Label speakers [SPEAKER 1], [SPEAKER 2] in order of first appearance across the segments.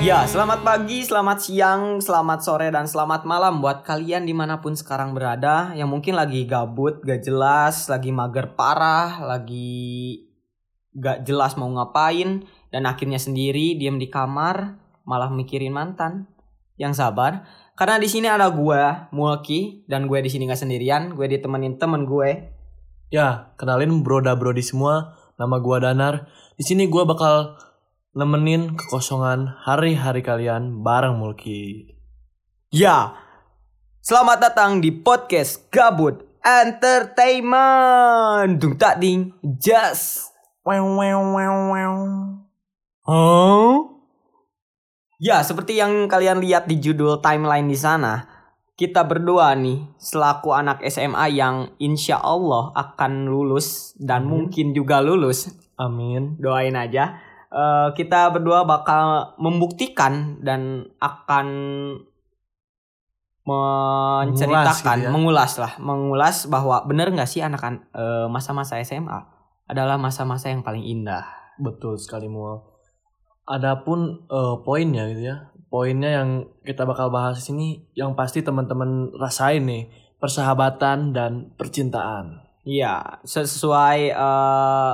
[SPEAKER 1] Ya, selamat pagi, selamat siang, selamat sore, dan selamat malam buat kalian dimanapun sekarang berada yang mungkin lagi gabut, gak jelas, lagi mager parah, lagi gak jelas mau ngapain, dan akhirnya sendiri diem di kamar malah mikirin mantan. Yang sabar, karena di sini ada gua, Mulki, dan gue di sini gak sendirian, gue ditemenin temen gue.
[SPEAKER 2] Ya, kenalin broda brodi semua. Nama gua Danar. Di sini gua bakal nemenin kekosongan hari-hari kalian bareng Mulki.
[SPEAKER 1] Ya, selamat datang di podcast Gabut Entertainment. Dung tak ding, just.
[SPEAKER 2] Wew, wew, wew, wew.
[SPEAKER 1] Oh? Ya, seperti yang kalian lihat di judul timeline di sana, kita berdua nih selaku anak SMA yang insya Allah akan lulus dan mungkin juga lulus,
[SPEAKER 2] Amin.
[SPEAKER 1] doain aja. Eh, kita berdua bakal membuktikan dan akan menceritakan,
[SPEAKER 2] gitu ya.
[SPEAKER 1] mengulas lah, mengulas bahwa bener nggak sih anak eh, masa-masa SMA adalah masa-masa yang paling indah.
[SPEAKER 2] Betul sekali Mul. Adapun eh, poinnya gitu ya. Poinnya yang kita bakal bahas di sini yang pasti teman-teman rasain nih, persahabatan dan percintaan.
[SPEAKER 1] Iya, sesuai eh,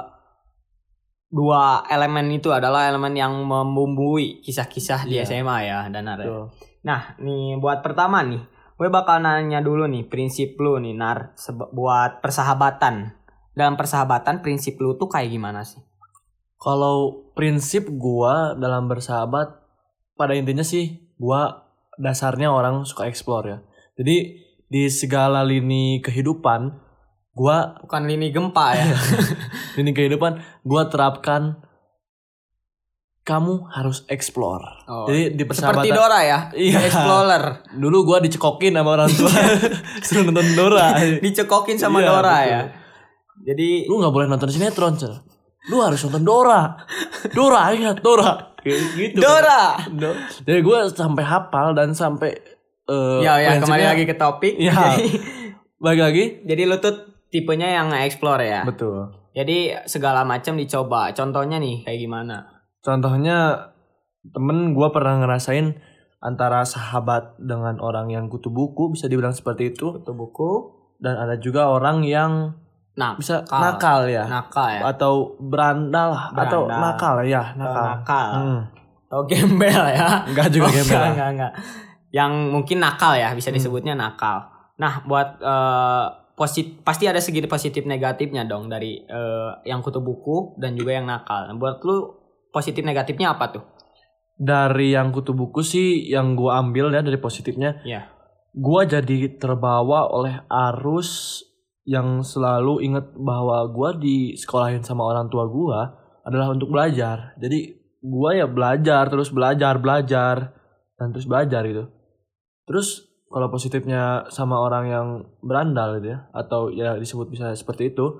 [SPEAKER 1] dua elemen itu adalah elemen yang membumbui kisah-kisah di
[SPEAKER 2] Iya.
[SPEAKER 1] SMA ya, Danar. ya.
[SPEAKER 2] Betul.
[SPEAKER 1] Nah, nih buat pertama nih, gue bakal nanya dulu nih prinsip lu nih, Nar, sebe- buat persahabatan. Dalam persahabatan prinsip lu tuh kayak gimana sih?
[SPEAKER 2] Kalau prinsip gua dalam bersahabat pada intinya sih gua dasarnya orang suka explore ya. Jadi di segala lini kehidupan gua
[SPEAKER 1] Bukan lini gempa
[SPEAKER 2] Iya.
[SPEAKER 1] ya.
[SPEAKER 2] lini kehidupan gua terapkan kamu harus explore.
[SPEAKER 1] Oh.
[SPEAKER 2] Jadi di
[SPEAKER 1] Seperti
[SPEAKER 2] persahabatan
[SPEAKER 1] Dora ya,
[SPEAKER 2] Iya.
[SPEAKER 1] Explorer.
[SPEAKER 2] dulu gua dicekokin sama orang tua suruh nonton Dora.
[SPEAKER 1] Dicekokin sama
[SPEAKER 2] Iya,
[SPEAKER 1] Dora
[SPEAKER 2] betul.
[SPEAKER 1] ya. Jadi
[SPEAKER 2] Lu nggak boleh nonton sinetron, Cer. Lu harus nonton Dora. Dora, ingat Dora. Gitu.
[SPEAKER 1] Dora.
[SPEAKER 2] No. Jadi gue sampai hafal dan sampai eh,
[SPEAKER 1] Ya ya
[SPEAKER 2] prinsipnya-
[SPEAKER 1] kembali lagi ke topik.
[SPEAKER 2] Iya.
[SPEAKER 1] Jadi-
[SPEAKER 2] balik lagi.
[SPEAKER 1] Jadi lu tuh tipenya yang explore ya.
[SPEAKER 2] Betul.
[SPEAKER 1] Jadi segala macam dicoba. Contohnya nih kayak gimana?
[SPEAKER 2] Contohnya temen gue pernah ngerasain antara sahabat dengan orang yang kutu buku bisa dibilang seperti itu
[SPEAKER 1] Kutu buku,
[SPEAKER 2] dan ada juga orang yang
[SPEAKER 1] nak,
[SPEAKER 2] bisa
[SPEAKER 1] Nakal.
[SPEAKER 2] nakal ya
[SPEAKER 1] nakal ya.
[SPEAKER 2] atau berandal lah atau
[SPEAKER 1] Berandal.
[SPEAKER 2] nakal ya
[SPEAKER 1] Atau
[SPEAKER 2] nakal.
[SPEAKER 1] nakal.
[SPEAKER 2] Hmm.
[SPEAKER 1] Atau gembel ya.
[SPEAKER 2] Enggak juga
[SPEAKER 1] Oh,
[SPEAKER 2] gembel. Hmm.
[SPEAKER 1] Enggak, enggak, enggak. Yang mungkin nakal ya, bisa disebutnya nakal. Nah, buat eh, posit- pasti ada segi positif negatifnya dong dari eh, yang kutu buku dan juga yang nakal. Nah, buat lu positif negatifnya apa tuh?
[SPEAKER 2] Dari yang kutu buku sih yang gue ambil ya dari positifnya
[SPEAKER 1] Iya.
[SPEAKER 2] gua jadi terbawa oleh arus yang selalu inget bahwa gua disekolahin sama orang tua gua adalah untuk belajar. Jadi gua ya belajar terus belajar belajar dan terus belajar gitu. Terus kalau positifnya sama orang yang berandal gitu ya atau ya disebut bisa seperti itu,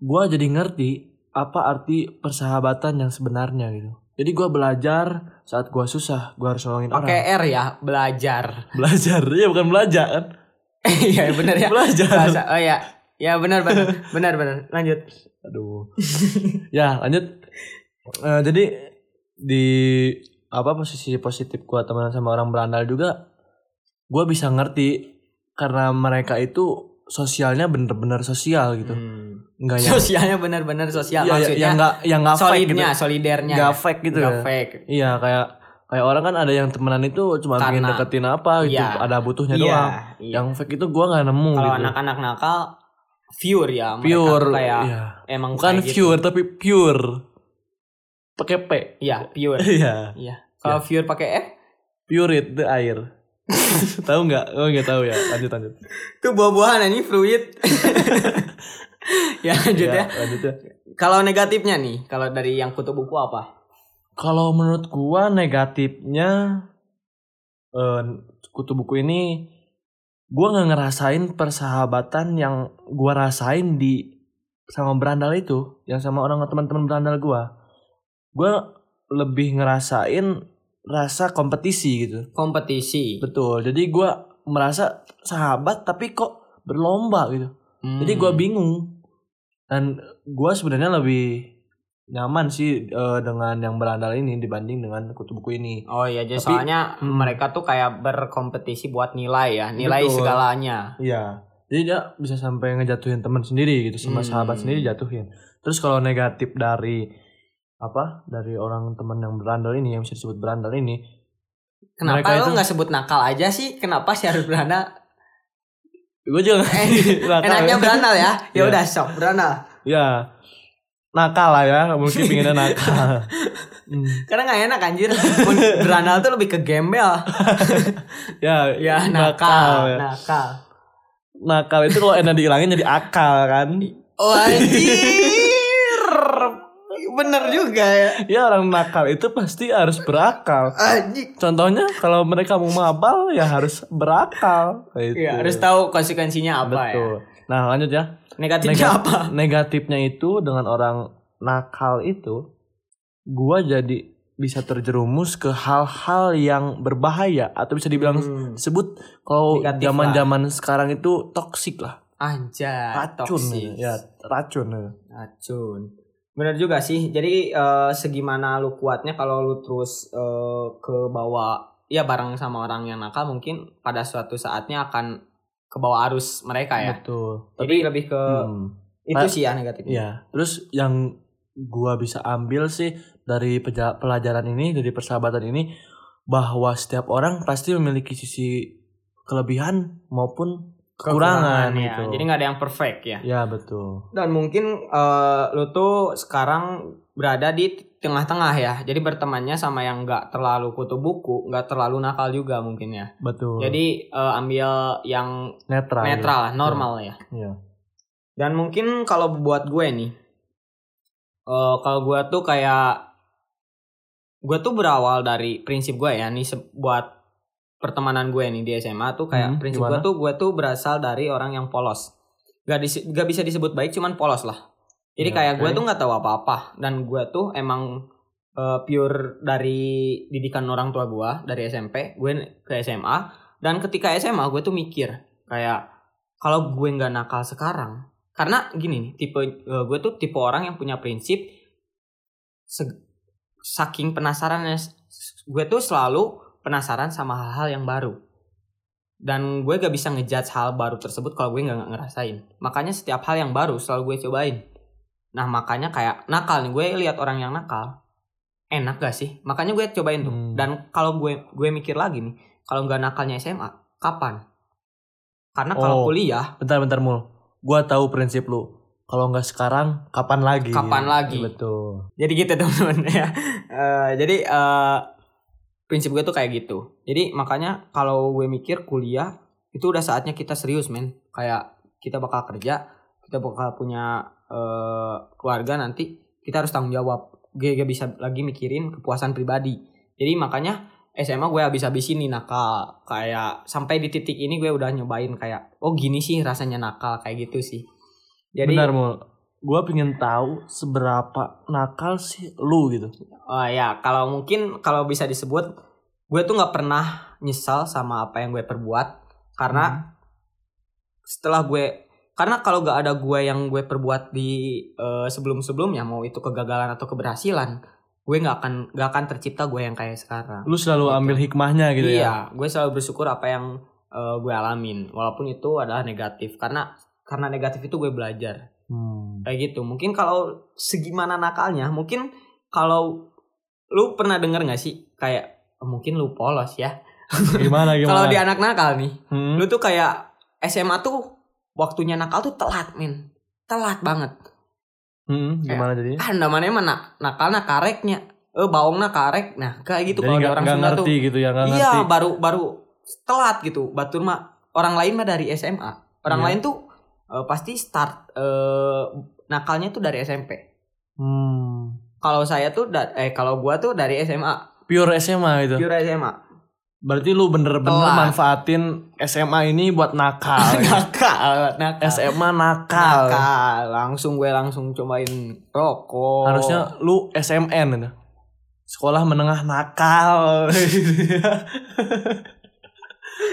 [SPEAKER 2] gua jadi ngerti apa arti persahabatan yang sebenarnya gitu. Jadi gua belajar saat gua susah, gua harus nolongin orang.
[SPEAKER 1] Pakai R ya, belajar.
[SPEAKER 2] Belajar, ya bukan belajar kan?
[SPEAKER 1] Iya, bener ya.
[SPEAKER 2] belajar.
[SPEAKER 1] Bahasa, oh ya. Ya benar benar benar benar. Lanjut.
[SPEAKER 2] Aduh. ya lanjut. Eh, jadi di apa posisi positif gua teman sama orang berandal juga, gua bisa ngerti karena mereka itu sosialnya bener-bener sosial gitu, nggak yang
[SPEAKER 1] Sosialnya benar-benar sosial
[SPEAKER 2] ya, ya,
[SPEAKER 1] Hmm. maksudnya.
[SPEAKER 2] yang nggak yang nggak fake gitu,
[SPEAKER 1] solidnya, solidernya.
[SPEAKER 2] nggak fake gitu
[SPEAKER 1] Nggak
[SPEAKER 2] ya.
[SPEAKER 1] fake.
[SPEAKER 2] Iya kayak kayak orang kan ada yang temenan itu cuma pengen
[SPEAKER 1] Karena-
[SPEAKER 2] deketin apa gitu,
[SPEAKER 1] Iya.
[SPEAKER 2] ada butuhnya
[SPEAKER 1] Iya,
[SPEAKER 2] doang.
[SPEAKER 1] iya.
[SPEAKER 2] Yang fake itu gua nggak nemu
[SPEAKER 1] Kalau
[SPEAKER 2] gitu.
[SPEAKER 1] anak-anak nakal pure ya mereka
[SPEAKER 2] Pure,
[SPEAKER 1] tuh kayak
[SPEAKER 2] iya.
[SPEAKER 1] emang
[SPEAKER 2] bukan
[SPEAKER 1] kayak gitu.
[SPEAKER 2] pure tapi pure, pakai p.
[SPEAKER 1] Iya, pure.
[SPEAKER 2] Iya.
[SPEAKER 1] Iya. Kalau pure pakai F
[SPEAKER 2] Purit the air. tahu nggak? Oh nggak tahu ya. Lanjut lanjut.
[SPEAKER 1] itu buah-buahan ini fruit. ya lanjut ya.
[SPEAKER 2] lanjut ya.
[SPEAKER 1] Kalau negatifnya nih, kalau dari yang kutu buku apa?
[SPEAKER 2] Kalau menurut gua negatifnya eh kutu buku ini gua nggak ngerasain persahabatan yang gua rasain di sama berandal itu, yang sama orang teman-teman berandal gua. Gua lebih ngerasain rasa kompetisi gitu.
[SPEAKER 1] Kompetisi.
[SPEAKER 2] Betul. Jadi gua merasa sahabat tapi kok berlomba gitu.
[SPEAKER 1] Hmm.
[SPEAKER 2] Jadi gue bingung dan gue sebenarnya lebih nyaman sih eh, dengan yang berandal ini dibanding dengan kutu buku ini.
[SPEAKER 1] Oh iya, jadi
[SPEAKER 2] Tapi-
[SPEAKER 1] soalnya
[SPEAKER 2] Hmm.
[SPEAKER 1] mereka tuh kayak berkompetisi buat nilai ya, nilai
[SPEAKER 2] Betul.
[SPEAKER 1] segalanya.
[SPEAKER 2] Iya. Jadi dia bisa sampai ngejatuhin teman sendiri gitu sama
[SPEAKER 1] Hmm.
[SPEAKER 2] sahabat sendiri jatuhin. Terus kalau negatif dari apa? Dari orang teman yang berandal ini yang bisa disebut berandal ini
[SPEAKER 1] Kenapa
[SPEAKER 2] Mereka
[SPEAKER 1] lu
[SPEAKER 2] itu-
[SPEAKER 1] nggak sebut nakal aja sih? Kenapa sih harus berandal?
[SPEAKER 2] gue juga nggak tahu.
[SPEAKER 1] Enaknya berandal ya? Ya
[SPEAKER 2] Iya.
[SPEAKER 1] udah sok berandal.
[SPEAKER 2] ya nakal lah ya mungkin pinginnya nakal Hmm.
[SPEAKER 1] Karena nggak enak anjir. Mun berandal tuh lebih ke gembel.
[SPEAKER 2] ya
[SPEAKER 1] Ya
[SPEAKER 2] ya.
[SPEAKER 1] nakal, nakal.
[SPEAKER 2] nakal itu kalau enak dihilangin jadi akal kan
[SPEAKER 1] Oh anjir. Bener juga ya.
[SPEAKER 2] ya orang nakal itu pasti harus berakal
[SPEAKER 1] Anjir.
[SPEAKER 2] contohnya kalau mereka mau mabal ya harus berakal Kayak
[SPEAKER 1] Ya,
[SPEAKER 2] itu.
[SPEAKER 1] harus tahu konsekuensinya apa
[SPEAKER 2] betul nah lanjut ya
[SPEAKER 1] ya. Negatifnya
[SPEAKER 2] Negat-
[SPEAKER 1] apa?
[SPEAKER 2] negatifnya itu dengan orang nakal itu gua jadi bisa terjerumus ke hal-hal yang berbahaya atau bisa dibilang
[SPEAKER 1] Hmm.
[SPEAKER 2] sebut kalau
[SPEAKER 1] Negatif
[SPEAKER 2] zaman-zaman sekarang itu toksik lah
[SPEAKER 1] Anjay,
[SPEAKER 2] racun
[SPEAKER 1] Ah, toxic.
[SPEAKER 2] ya racun ya.
[SPEAKER 1] racun bener juga sih jadi eh, segimana lu kuatnya kalau lu terus eh, ke bawah ya bareng sama orang yang nakal mungkin pada suatu saatnya akan ke bawah arus mereka ya
[SPEAKER 2] betul
[SPEAKER 1] jadi lebih ke
[SPEAKER 2] Hmm.
[SPEAKER 1] itu
[SPEAKER 2] Nah,
[SPEAKER 1] sih ya negatifnya
[SPEAKER 2] Ya, terus yang gua bisa ambil sih dari peja- pelajaran ini, dari persahabatan ini bahwa setiap orang pasti memiliki sisi kelebihan maupun kekurangan,
[SPEAKER 1] ya.
[SPEAKER 2] gitu.
[SPEAKER 1] jadi nggak ada yang perfect ya
[SPEAKER 2] Ya, betul.
[SPEAKER 1] dan mungkin eh, lu tuh sekarang berada di tengah-tengah ya jadi bertemannya sama yang nggak terlalu kutu buku nggak terlalu nakal juga mungkin ya
[SPEAKER 2] Betul.
[SPEAKER 1] jadi eh, ambil yang
[SPEAKER 2] netral.
[SPEAKER 1] netral lah, normal ya.
[SPEAKER 2] Nah, Iya.
[SPEAKER 1] Dan mungkin kalau buat gue nih, eh, kalau gue tuh kayak gue tuh berawal dari prinsip gue ya nih se- buat pertemanan gue nih di SMA tuh kayak
[SPEAKER 2] Hmm,
[SPEAKER 1] prinsip gue
[SPEAKER 2] gimana?
[SPEAKER 1] tuh gue tuh berasal dari orang yang polos. Gak, disi- gak bisa disebut baik cuman polos lah. Jadi
[SPEAKER 2] Iya,
[SPEAKER 1] kayak gue
[SPEAKER 2] oke.
[SPEAKER 1] tuh nggak tahu apa-apa dan gue tuh emang eh, pure dari didikan orang tua gue dari SMP gue ke SMA dan ketika SMA gue tuh mikir kayak kalau gue nggak nakal sekarang karena gini nih tipe eh, gue tuh tipe orang yang punya prinsip se- saking penasarannya s- s- gue tuh selalu penasaran sama hal-hal yang baru dan gue gak bisa ngejudge hal baru tersebut kalau gue nggak ngerasain makanya setiap hal yang baru selalu gue cobain nah makanya kayak nakal nih gue lihat orang yang nakal enak gak sih makanya gue cobain tuh
[SPEAKER 2] Hmm.
[SPEAKER 1] dan kalau gue gue mikir lagi nih kalau nggak nakalnya SMA kapan karena
[SPEAKER 2] Oh.
[SPEAKER 1] kalau kuliah
[SPEAKER 2] Bentar-bentar mul. Gua tahu prinsip lu. Kalau nggak sekarang, kapan lagi?
[SPEAKER 1] Kapan lagi?
[SPEAKER 2] Betul.
[SPEAKER 1] jadi gitu teman-teman ya Eh, jadi eh, prinsip gue tuh kayak gitu jadi makanya kalau gue mikir kuliah itu udah saatnya kita serius men kayak kita bakal kerja kita bakal punya eh, keluarga nanti kita harus tanggung jawab gue gak bisa lagi mikirin kepuasan pribadi jadi makanya SMA gue habis-habisin nih nakal kayak sampai di titik ini gue udah nyobain kayak oh gini sih rasanya nakal kayak gitu sih jadi
[SPEAKER 2] Bentar mul. Gua pengen tahu seberapa nakal sih lu gitu.
[SPEAKER 1] Oh ya, kalau mungkin kalau bisa disebut, gue tuh nggak pernah nyesal sama apa yang gue perbuat
[SPEAKER 2] Hmm.
[SPEAKER 1] karena setelah gue karena kalau gak ada gue yang gue perbuat di eh, sebelum-sebelumnya mau itu kegagalan atau keberhasilan, gue nggak akan nggak akan tercipta gue yang kayak sekarang.
[SPEAKER 2] lu selalu
[SPEAKER 1] Gitu.
[SPEAKER 2] ambil hikmahnya gitu ya.
[SPEAKER 1] iya, gue selalu bersyukur apa yang eh, gue alamin walaupun itu adalah negatif karena karena negatif itu gue belajar
[SPEAKER 2] Hmm.
[SPEAKER 1] kayak gitu mungkin kalau segimana nakalnya mungkin kalau lu pernah dengar nggak sih kayak "Oh, mungkin lu polos ya
[SPEAKER 2] Gimana gimana?
[SPEAKER 1] kalau di anak nakal nih
[SPEAKER 2] Iya, Hmm.
[SPEAKER 1] lu tuh kayak SMA tuh waktunya nakal tuh telat men telat banget
[SPEAKER 2] Hmm, gimana jadi?
[SPEAKER 1] ah ndak mana mana nakalnya kareknya eh baongnya karek nah kayak gitu
[SPEAKER 2] jadi
[SPEAKER 1] kalau di
[SPEAKER 2] nggak
[SPEAKER 1] orang
[SPEAKER 2] nggak
[SPEAKER 1] Sunda tuh
[SPEAKER 2] ngerti gitu ya nggak ngerti.
[SPEAKER 1] iya baru baru telat gitu batur mah orang lain mah dari SMA orang
[SPEAKER 2] Iya.
[SPEAKER 1] lain tuh eh, pasti start eh, nakalnya tuh dari SMP
[SPEAKER 2] Hmm.
[SPEAKER 1] kalau saya tuh da- eh kalau gua tuh dari SMA
[SPEAKER 2] Pure SMA itu.
[SPEAKER 1] pure SMA
[SPEAKER 2] gitu. Berarti lu bener-bener
[SPEAKER 1] Telat.
[SPEAKER 2] manfaatin SMA ini buat nakal. ya.
[SPEAKER 1] nakal nakal
[SPEAKER 2] SMA nakal.
[SPEAKER 1] nakal langsung gue langsung cobain rokok
[SPEAKER 2] Harusnya lu SMN gitu. Sekolah menengah nakal.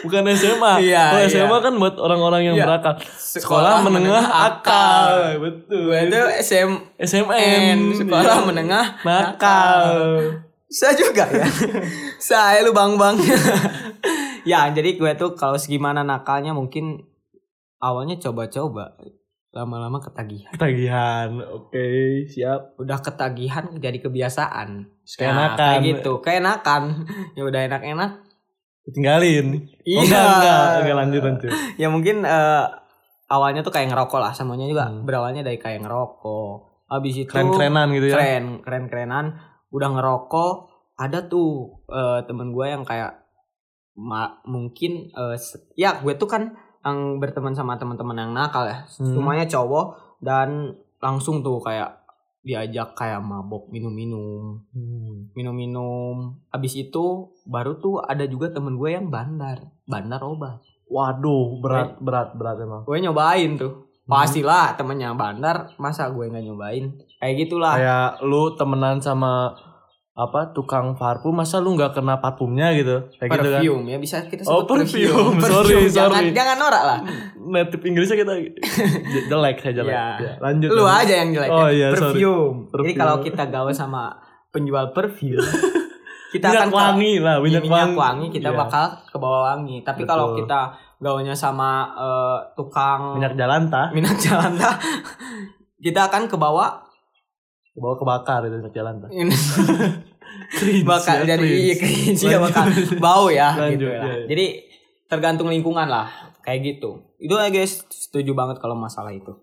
[SPEAKER 2] bukan SMA.
[SPEAKER 1] Iya,
[SPEAKER 2] Kalau
[SPEAKER 1] iya.
[SPEAKER 2] SMA kan buat orang-orang
[SPEAKER 1] Iya.
[SPEAKER 2] yang berakal. Sekolah, menengah akal. Betul.
[SPEAKER 1] Gue itu
[SPEAKER 2] SMN.
[SPEAKER 1] SMN,
[SPEAKER 2] Iya.
[SPEAKER 1] sekolah menengah
[SPEAKER 2] nakal.
[SPEAKER 1] Saya juga ya. Saya lubang bang. ya, jadi gue tuh kalau segimana nakalnya mungkin awalnya coba-coba, lama-lama ketagihan.
[SPEAKER 2] Ketagihan. Oke, siap.
[SPEAKER 1] Udah ketagihan jadi kebiasaan. Nah,
[SPEAKER 2] Keenakan.
[SPEAKER 1] kayak gitu, keenakan. Ya udah enak-enak.
[SPEAKER 2] Tinggalin. Oh, enggak, enggak. Oke, lanjut lanjut.
[SPEAKER 1] Iya. Ya mungkin eh, awalnya tuh kayak ngerokok lah, semuanya juga
[SPEAKER 2] Hmm.
[SPEAKER 1] berawalnya dari kayak ngerokok. Habis itu
[SPEAKER 2] Keren-kerenan gitu ya.
[SPEAKER 1] keren keren kerenan udah ngerokok ada tuh eh, temen gue yang kayak ma- mungkin eh, se- ya gue tuh kan yang berteman sama teman-teman yang nakal ya
[SPEAKER 2] Hmm.
[SPEAKER 1] semuanya cowok dan langsung tuh kayak diajak kayak mabok minum-minum
[SPEAKER 2] Hmm.
[SPEAKER 1] minum-minum abis itu baru tuh ada juga temen gue yang bandar bandar obat
[SPEAKER 2] Waduh, berat berat berat emang.
[SPEAKER 1] gue nyobain tuh
[SPEAKER 2] Hmm.
[SPEAKER 1] pastilah temennya bandar masa gue nggak nyobain kayak gitulah
[SPEAKER 2] Kayak lu temenan sama apa tukang parfum masa lu nggak kena parfumnya gitu kayak gitu kan
[SPEAKER 1] perfume ya bisa kita sebut
[SPEAKER 2] Oh, perfume. Sorry,
[SPEAKER 1] jangan,
[SPEAKER 2] sorry.
[SPEAKER 1] jangan norak lah
[SPEAKER 2] native Nah, Inggrisnya kita je- jelek saya jelek
[SPEAKER 1] Iya.
[SPEAKER 2] Ya, lanjut
[SPEAKER 1] lu
[SPEAKER 2] lanjut.
[SPEAKER 1] aja yang jelek ya.
[SPEAKER 2] oh iya sorry
[SPEAKER 1] perfume. jadi
[SPEAKER 2] Perfume.
[SPEAKER 1] kalau kita gawe sama penjual perfume kita
[SPEAKER 2] minyak
[SPEAKER 1] akan
[SPEAKER 2] wangi lah
[SPEAKER 1] ke-
[SPEAKER 2] minyak,
[SPEAKER 1] minyak
[SPEAKER 2] wangi,
[SPEAKER 1] wangi kita
[SPEAKER 2] Iya.
[SPEAKER 1] bakal ke bawah wangi tapi
[SPEAKER 2] Betul.
[SPEAKER 1] kalau kita gaulnya sama eh, tukang
[SPEAKER 2] minyak jalan tah
[SPEAKER 1] minyak jalan dah, kita akan ke bawah
[SPEAKER 2] bawa kebakar itu minyak jalan tah
[SPEAKER 1] ini
[SPEAKER 2] Cringe,
[SPEAKER 1] bakal
[SPEAKER 2] ya,
[SPEAKER 1] jadi
[SPEAKER 2] cringe.
[SPEAKER 1] iya, cringe, ya,
[SPEAKER 2] Lanjut.
[SPEAKER 1] bakal bau ya
[SPEAKER 2] Lanjut,
[SPEAKER 1] gitu lah.
[SPEAKER 2] iya, iya.
[SPEAKER 1] jadi tergantung lingkungan lah kayak gitu itu ya guys setuju banget kalau masalah itu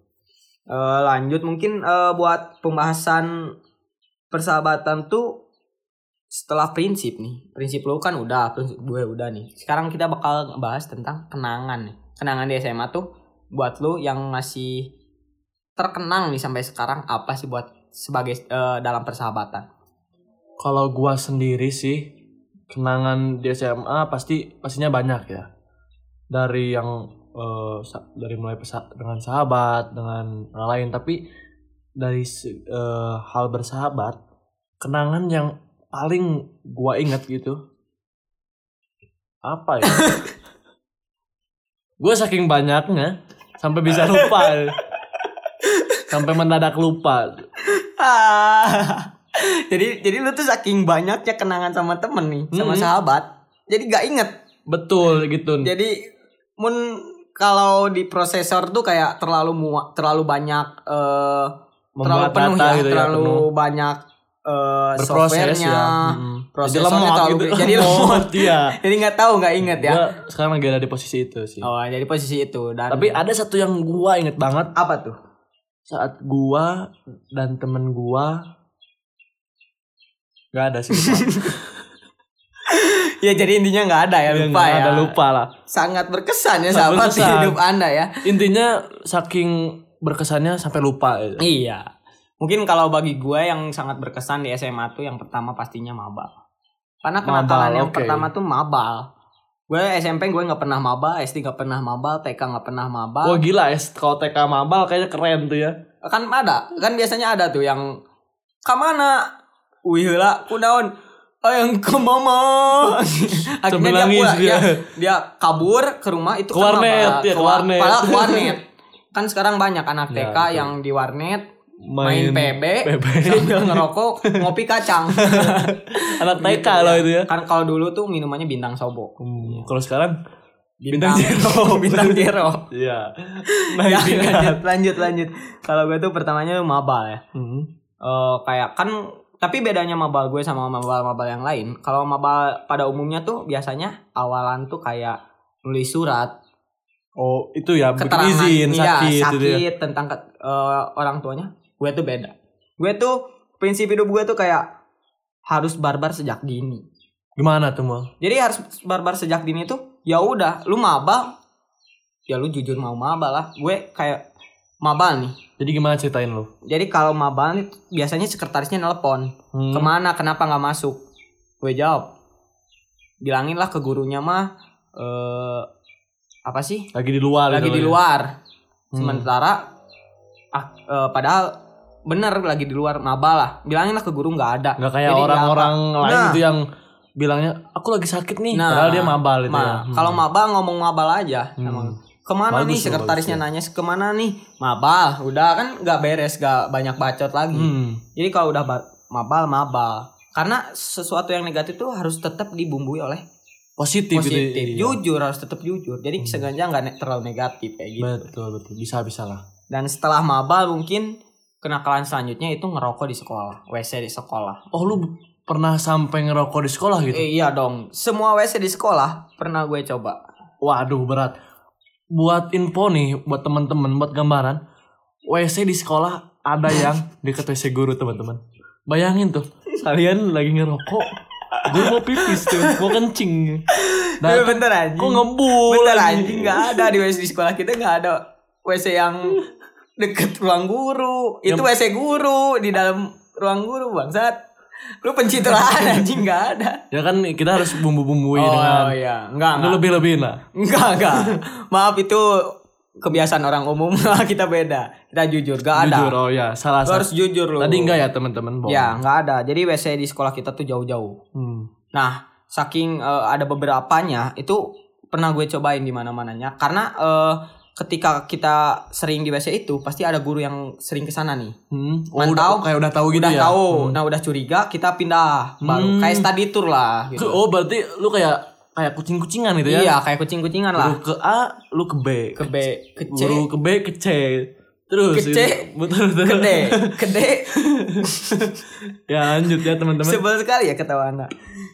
[SPEAKER 1] Eh, lanjut mungkin eh, buat pembahasan persahabatan tuh setelah prinsip nih prinsip lu kan udah prinsip gue udah nih sekarang kita bakal bahas tentang kenangan nih kenangan di SMA tuh buat lu yang masih terkenang nih sampai sekarang apa sih buat sebagai eh, dalam persahabatan
[SPEAKER 2] kalau gua sendiri sih kenangan di SMA pasti pastinya banyak ya dari yang eh, sa- dari mulai pesa- dengan sahabat dengan orang lain tapi dari se- eh, hal bersahabat kenangan yang paling gua ingat gitu apa ya gua saking banyaknya sampai bisa lupa sampai mendadak lupa
[SPEAKER 1] Ah. jadi jadi lu tuh saking banyaknya kenangan sama temen nih sama
[SPEAKER 2] Mm-mm.
[SPEAKER 1] sahabat jadi gak inget
[SPEAKER 2] betul gitu
[SPEAKER 1] jadi mun kalau di prosesor tuh kayak terlalu mua, terlalu banyak eh terlalu
[SPEAKER 2] Membuat
[SPEAKER 1] penuh
[SPEAKER 2] data
[SPEAKER 1] ya
[SPEAKER 2] gitu ya,
[SPEAKER 1] terlalu
[SPEAKER 2] penuh.
[SPEAKER 1] banyak eh
[SPEAKER 2] berproses
[SPEAKER 1] softwarenya
[SPEAKER 2] ya. Mm-mm. Jadi
[SPEAKER 1] prosesornya
[SPEAKER 2] lemot
[SPEAKER 1] terlalu
[SPEAKER 2] gitu.
[SPEAKER 1] gede. jadi lemot
[SPEAKER 2] iya.
[SPEAKER 1] jadi nggak tahu nggak inget ya
[SPEAKER 2] Gua sekarang lagi ada di posisi itu sih.
[SPEAKER 1] oh jadi posisi itu dan
[SPEAKER 2] Iya. Tapi ada satu yang gua inget banget
[SPEAKER 1] apa tuh
[SPEAKER 2] saat gua dan temen gua Gak ada sih Iya, lupa.
[SPEAKER 1] ya jadi intinya nggak ada ya lupa
[SPEAKER 2] Iya, Nggak
[SPEAKER 1] ya
[SPEAKER 2] Ada lupa lah.
[SPEAKER 1] sangat berkesan ya
[SPEAKER 2] Sangat
[SPEAKER 1] sahabat di
[SPEAKER 2] berkesan.
[SPEAKER 1] hidup anda ya
[SPEAKER 2] Intinya saking berkesannya sampai lupa. gitu.
[SPEAKER 1] Iya. Mungkin kalau bagi gue yang sangat berkesan di SMA tuh yang pertama pastinya mabal. Karena
[SPEAKER 2] Mabal,
[SPEAKER 1] kenakalan yang
[SPEAKER 2] oke.
[SPEAKER 1] pertama tuh mabal. Gue SMP gue nggak pernah mabal, SD nggak pernah mabal, TK nggak pernah mabal.
[SPEAKER 2] Wah gila ya, kalau TK mabal kayaknya keren tuh ya.
[SPEAKER 1] Kan ada, kan biasanya ada tuh yang kemana? Wih lah, kunaon? Oh yang ke mama.
[SPEAKER 2] Sambil
[SPEAKER 1] Akhirnya dia
[SPEAKER 2] nangis
[SPEAKER 1] pulang,
[SPEAKER 2] dia.
[SPEAKER 1] dia, dia kabur ke rumah itu kan
[SPEAKER 2] Ke warnet,
[SPEAKER 1] mabal.
[SPEAKER 2] ya, ke
[SPEAKER 1] Ke wa-
[SPEAKER 2] warnet.
[SPEAKER 1] padahal ke warnet. Kan sekarang banyak anak
[SPEAKER 2] Ya,
[SPEAKER 1] TK
[SPEAKER 2] betul.
[SPEAKER 1] yang di warnet main, PB,
[SPEAKER 2] PB.
[SPEAKER 1] sambil ngerokok ngopi kacang
[SPEAKER 2] Anak TK
[SPEAKER 1] Gitu ya.
[SPEAKER 2] loh itu ya.
[SPEAKER 1] kan kalau dulu tuh minumannya bintang sobo
[SPEAKER 2] Hmm, Kalau sekarang
[SPEAKER 1] bintang
[SPEAKER 2] Bintang Jero.
[SPEAKER 1] bintang jero
[SPEAKER 2] Iya.
[SPEAKER 1] ya,
[SPEAKER 2] Naik
[SPEAKER 1] lanjut
[SPEAKER 2] tingkat.
[SPEAKER 1] lanjut lanjut kalau gue tuh pertamanya mabal ya
[SPEAKER 2] Hmm.
[SPEAKER 1] Eh, kayak kan tapi bedanya mabal gue sama mabal-mabal yang lain kalau mabal pada umumnya tuh biasanya awalan tuh kayak nulis surat
[SPEAKER 2] Oh itu ya butuh
[SPEAKER 1] keterangan
[SPEAKER 2] izin
[SPEAKER 1] iya,
[SPEAKER 2] sakit, gitu ya.
[SPEAKER 1] sakit tentang ke- eh, orang tuanya gue tuh beda gue tuh prinsip hidup gue tuh kayak harus barbar sejak dini
[SPEAKER 2] Gimana tuh mal?
[SPEAKER 1] Jadi harus barbar sejak dini tuh ya udah lu maba ya lu jujur mau maba lah. Gue kayak maba nih.
[SPEAKER 2] Jadi gimana ceritain lu?
[SPEAKER 1] Jadi kalau maba nih biasanya sekretarisnya nelpon.
[SPEAKER 2] Hmm.
[SPEAKER 1] Kemana? Kenapa nggak masuk? Gue jawab. Bilangin lah ke gurunya mah eh apa sih?
[SPEAKER 2] Lagi di luar.
[SPEAKER 1] Lagi
[SPEAKER 2] gitu
[SPEAKER 1] di
[SPEAKER 2] ya.
[SPEAKER 1] luar.
[SPEAKER 2] Hmm.
[SPEAKER 1] Sementara ah, eh, padahal bener lagi di luar maba lah. Bilangin lah ke guru nggak ada.
[SPEAKER 2] Nggak kayak
[SPEAKER 1] Jadi nggak
[SPEAKER 2] orang-orang
[SPEAKER 1] apa.
[SPEAKER 2] lain
[SPEAKER 1] Nah.
[SPEAKER 2] gitu yang bilangnya aku lagi sakit nih
[SPEAKER 1] Nah,
[SPEAKER 2] padahal dia mabal itu ya.
[SPEAKER 1] Ma,
[SPEAKER 2] Hmm.
[SPEAKER 1] kalau maba ngomong mabal aja
[SPEAKER 2] Hmm.
[SPEAKER 1] emang. Kemana
[SPEAKER 2] Bagus
[SPEAKER 1] nih
[SPEAKER 2] tuh,
[SPEAKER 1] sekretarisnya nanya kemana nih mabal udah kan nggak beres gak banyak bacot lagi
[SPEAKER 2] Hmm.
[SPEAKER 1] Jadi kalau udah ba- mabal mabal. Karena sesuatu yang negatif tuh harus tetap dibumbui oleh
[SPEAKER 2] positif, itu,
[SPEAKER 1] positif.
[SPEAKER 2] iya.
[SPEAKER 1] Jujur harus tetap jujur. Jadi
[SPEAKER 2] Hmm.
[SPEAKER 1] sengaja nggak ne- terlalu negatif kayak gitu.
[SPEAKER 2] betul betul bisa bisa lah
[SPEAKER 1] Dan setelah mabal mungkin kenakalan selanjutnya itu ngerokok di sekolah, WC di sekolah.
[SPEAKER 2] oh lu pernah sampai ngerokok di sekolah gitu
[SPEAKER 1] Eh, iya dong. Semua WC di sekolah pernah gue coba.
[SPEAKER 2] waduh berat buat info nih buat teman-teman buat gambaran WC di sekolah ada yang deket WC guru teman-teman bayangin tuh kalian lagi ngerokok guru mau pipis tuh mau kencing nah
[SPEAKER 1] Eh,
[SPEAKER 2] itu
[SPEAKER 1] bentar anjing.
[SPEAKER 2] kok ngebul
[SPEAKER 1] bentar
[SPEAKER 2] lagi?
[SPEAKER 1] anjing nggak ada di WC di sekolah kita nggak ada WC yang deket ruang guru. Itu
[SPEAKER 2] Yang-
[SPEAKER 1] WC guru di dalam ruang guru bangsat. Lu pencitraan anjing nggak ada.
[SPEAKER 2] ya kan kita harus bumbu-bumbui Oh, dengan
[SPEAKER 1] iya, enggak
[SPEAKER 2] lu
[SPEAKER 1] enggak.
[SPEAKER 2] lebih-lebihin lah
[SPEAKER 1] Enggak, enggak. Maaf itu kebiasaan orang umum kita beda. Kita jujur, enggak ada.
[SPEAKER 2] jujur oh ya salah
[SPEAKER 1] Lu harus
[SPEAKER 2] satu
[SPEAKER 1] jujur lu.
[SPEAKER 2] tadi enggak ya teman-teman bohong
[SPEAKER 1] Ya, enggak ada. Jadi WC di sekolah kita tuh jauh-jauh.
[SPEAKER 2] Hmm.
[SPEAKER 1] Nah, saking eh, ada beberapanya itu pernah gue cobain di mana-mananya karena eh, ketika kita sering di WC itu pasti ada guru yang sering ke sana nih.
[SPEAKER 2] Hmm. Oh,
[SPEAKER 1] Mantau.
[SPEAKER 2] udah kayak udah tahu gitu
[SPEAKER 1] Udah
[SPEAKER 2] ya
[SPEAKER 1] tahu.
[SPEAKER 2] Hmm.
[SPEAKER 1] Nah, udah curiga, kita pindah. Baru
[SPEAKER 2] Hmm.
[SPEAKER 1] kayak study tour lah gitu.
[SPEAKER 2] oh berarti lu kayak kayak kucing-kucingan gitu ya
[SPEAKER 1] Iya, kayak kucing-kucingan lah.
[SPEAKER 2] Lu ke A, lu ke B.
[SPEAKER 1] Ke B, ke C,
[SPEAKER 2] Guru ke B, ke C. Terus
[SPEAKER 1] Ke C,
[SPEAKER 2] itu- betul betul.
[SPEAKER 1] Gede, gede.
[SPEAKER 2] ya lanjut ya teman-teman.
[SPEAKER 1] Sebel sekali ya ketawa anda.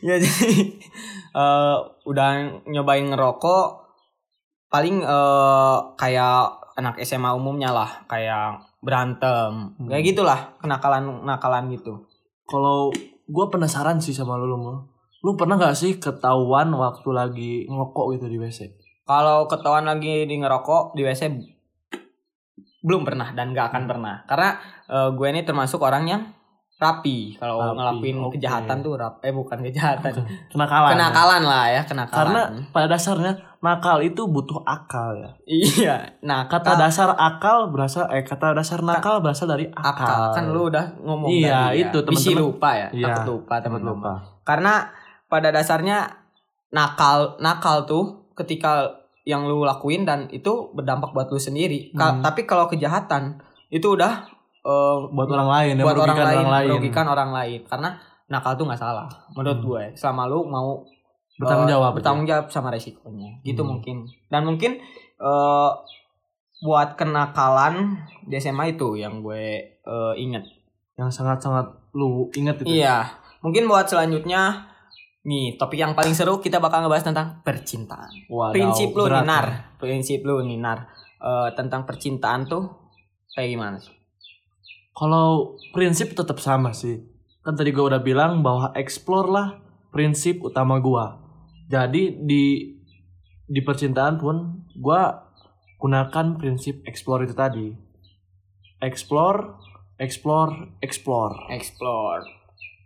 [SPEAKER 1] Ya jadi eh, udah nyobain ngerokok paling eh, kayak anak SMA umumnya lah kayak berantem
[SPEAKER 2] Hmm.
[SPEAKER 1] kayak gitulah kenakalan kenakalan gitu.
[SPEAKER 2] Kalau gua penasaran sih sama lu, lu. Lu pernah gak sih ketahuan waktu lagi ngokok gitu di WC?
[SPEAKER 1] Kalau ketahuan lagi di ngerokok di WC belum pernah dan gak
[SPEAKER 2] Hmm.
[SPEAKER 1] akan pernah karena eh, gue ini termasuk orang yang rapi kalau
[SPEAKER 2] Rapi,
[SPEAKER 1] ngelakuin
[SPEAKER 2] oke.
[SPEAKER 1] kejahatan tuh rap eh bukan kejahatan
[SPEAKER 2] Kenakalan. ya?
[SPEAKER 1] kenakalan lah ya kenakalan
[SPEAKER 2] Karena pada dasarnya nakal itu butuh akal ya.
[SPEAKER 1] Iya. Nah,
[SPEAKER 2] Kata
[SPEAKER 1] kata
[SPEAKER 2] dasar akal berasal eh kata dasar nakal berasal dari akal.
[SPEAKER 1] akal kan lu udah ngomong
[SPEAKER 2] Iya,
[SPEAKER 1] tadi ya.
[SPEAKER 2] itu, teman-teman.
[SPEAKER 1] Bisi lupa ya.
[SPEAKER 2] Iya,
[SPEAKER 1] Takut lupa
[SPEAKER 2] Takut
[SPEAKER 1] teman-teman.
[SPEAKER 2] lupa.
[SPEAKER 1] Karena pada dasarnya nakal nakal tuh ketika yang lu lakuin dan itu berdampak buat lu sendiri. Ka-
[SPEAKER 2] Hmm.
[SPEAKER 1] Tapi kalau kejahatan itu udah eh,
[SPEAKER 2] Buat orang lain ya,
[SPEAKER 1] buat orang
[SPEAKER 2] merugikan
[SPEAKER 1] lain,
[SPEAKER 2] orang lain.
[SPEAKER 1] merugikan orang lain. Karena nakal tuh nggak salah menurut
[SPEAKER 2] Hmm.
[SPEAKER 1] gue. Selama lu mau
[SPEAKER 2] Bertanggung
[SPEAKER 1] Eh,
[SPEAKER 2] jawab. gitu.
[SPEAKER 1] bertanggung jawab sama resikonya gitu
[SPEAKER 2] Hmm.
[SPEAKER 1] mungkin dan mungkin eh, buat kenakalan di SMA itu yang gue eh, inget
[SPEAKER 2] Yang sangat-sangat lu ingat itu.
[SPEAKER 1] iya mungkin buat selanjutnya nih topik yang paling seru kita bakal ngebahas tentang percintaan
[SPEAKER 2] Wadaw,
[SPEAKER 1] prinsip lu
[SPEAKER 2] berat
[SPEAKER 1] ninar
[SPEAKER 2] ya.
[SPEAKER 1] prinsip lu ninar Eh, tentang percintaan tuh kayak gimana sih
[SPEAKER 2] Kalau prinsip tetap sama sih. Kan tadi gua udah bilang bahwa explore lah prinsip utama gua. Jadi di di percintaan pun gua gunakan prinsip explore itu tadi. Explore, explore, explore.
[SPEAKER 1] explore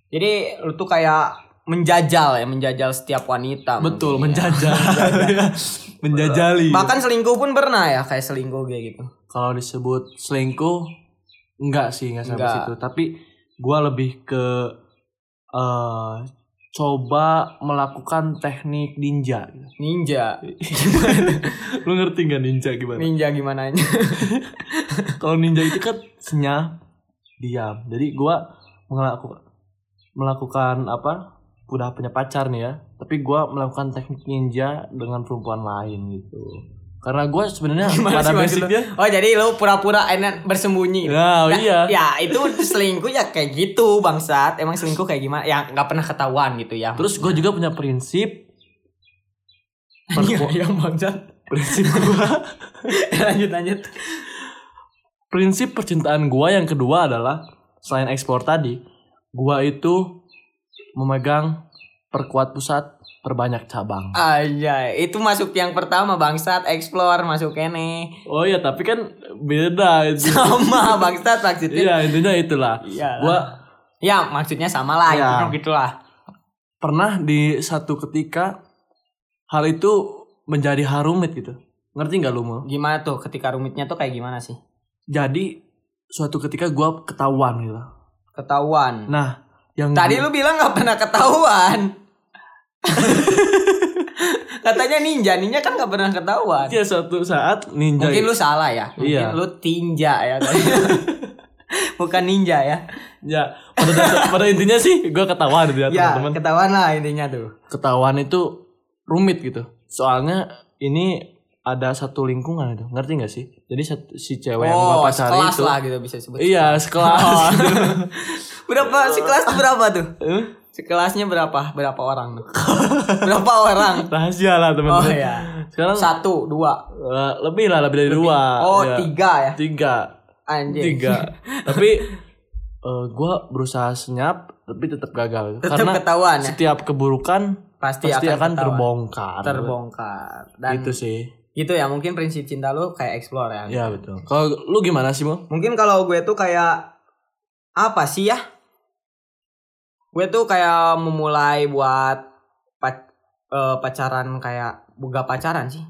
[SPEAKER 1] jadi lu tuh kayak menjajal ya menjajal setiap wanita
[SPEAKER 2] Betul,
[SPEAKER 1] mungkin ya.
[SPEAKER 2] menjajal. Menjajali.
[SPEAKER 1] bahkan selingkuh pun pernah ya kayak selingkuh kayak gitu
[SPEAKER 2] kalau disebut selingkuh enggak sih enggak sampai
[SPEAKER 1] Enggak.
[SPEAKER 2] situ tapi gua lebih ke eh coba melakukan teknik ninja
[SPEAKER 1] ninja
[SPEAKER 2] lu ngerti nggak ninja gimana
[SPEAKER 1] ninja gimana aja
[SPEAKER 2] kalau ninja itu kan senyap diam jadi gua melakukan melakukan apa udah punya pacar nih ya tapi gua melakukan teknik ninja dengan perempuan lain gitu karena gua sebenarnya
[SPEAKER 1] Gimana
[SPEAKER 2] pada
[SPEAKER 1] sih maksud lu?
[SPEAKER 2] basicnya
[SPEAKER 1] oh jadi lu pura-pura enak bersembunyi
[SPEAKER 2] nah
[SPEAKER 1] Nah,
[SPEAKER 2] iya
[SPEAKER 1] ya itu selingkuh ya kayak gitu bangsat emang selingkuh kayak gimana ya nggak pernah ketahuan gitu ya
[SPEAKER 2] Terus gue juga punya prinsip perku- Iya,
[SPEAKER 1] yang bangsat
[SPEAKER 2] prinsip gue Ya,
[SPEAKER 1] lanjut lanjut
[SPEAKER 2] prinsip percintaan gue yang kedua adalah selain ekspor tadi gue itu memegang perkuat pusat perbanyak cabang.
[SPEAKER 1] aja itu masuk yang pertama bangsat explore masuk nih
[SPEAKER 2] Oh iya tapi kan beda itu.
[SPEAKER 1] sama bangsat maksudnya
[SPEAKER 2] Iya intinya itulah.
[SPEAKER 1] Iyalah.
[SPEAKER 2] Gue
[SPEAKER 1] ya maksudnya sama lah
[SPEAKER 2] Ya.
[SPEAKER 1] intinya gitulah
[SPEAKER 2] pernah di satu ketika hal itu menjadi harumit gitu. Ngerti nggak lu mau?
[SPEAKER 1] gimana tuh ketika rumitnya tuh kayak gimana sih
[SPEAKER 2] Jadi suatu ketika gue ketahuan gitu.
[SPEAKER 1] ketahuan
[SPEAKER 2] Nah yang
[SPEAKER 1] tadi lu
[SPEAKER 2] gua-
[SPEAKER 1] bilang nggak pernah ketahuan Katanya ninja, ninja kan nggak pernah ketahuan.
[SPEAKER 2] Iya suatu saat ninja.
[SPEAKER 1] Mungkin lu salah ya. Mungkin
[SPEAKER 2] Iya.
[SPEAKER 1] lu tinja ya. tadi. Bukan ninja ya.
[SPEAKER 2] Ya, pada, dasar- pada intinya sih gue ketahuan gitu ya
[SPEAKER 1] Ya,
[SPEAKER 2] teman-teman.
[SPEAKER 1] ketahuan lah intinya tuh.
[SPEAKER 2] Ketahuan itu rumit gitu. Soalnya ini ada satu lingkungan itu, ngerti gak sih? Jadi satu- si cewek yang gue pacari
[SPEAKER 1] Oh, sekelas
[SPEAKER 2] itu,
[SPEAKER 1] lah gitu bisa sebut.
[SPEAKER 2] iya sekelas.
[SPEAKER 1] Oh. Berapa si kelas tuh berapa tuh?
[SPEAKER 2] Eh,
[SPEAKER 1] Si kelasnya berapa? Berapa orang tuh? berapa orang?
[SPEAKER 2] Rahasia lah teman-teman.
[SPEAKER 1] Oh ya.
[SPEAKER 2] Sekarang
[SPEAKER 1] Satu, dua.
[SPEAKER 2] eh, lebih lah, lebih dari iya. dua.
[SPEAKER 1] Oh,
[SPEAKER 2] Iya.
[SPEAKER 1] tiga Iya. ya.
[SPEAKER 2] tiga.
[SPEAKER 1] Anjing.
[SPEAKER 2] tiga tapi eh, gua berusaha senyap tapi tetap gagal
[SPEAKER 1] Tetap
[SPEAKER 2] karena
[SPEAKER 1] ketahuan ya.
[SPEAKER 2] setiap keburukan
[SPEAKER 1] Pasti,
[SPEAKER 2] pasti
[SPEAKER 1] ketahuan.
[SPEAKER 2] akan, terbongkar
[SPEAKER 1] terbongkar. Dan
[SPEAKER 2] itu sih
[SPEAKER 1] gitu ya mungkin prinsip cinta lu kayak explore ya.
[SPEAKER 2] ya betul kalau lu gimana sih mo
[SPEAKER 1] Mungkin kalau gue tuh kayak apa sih ya? Gue tuh kayak memulai buat pac- eh, pacaran kayak buka pacaran sih.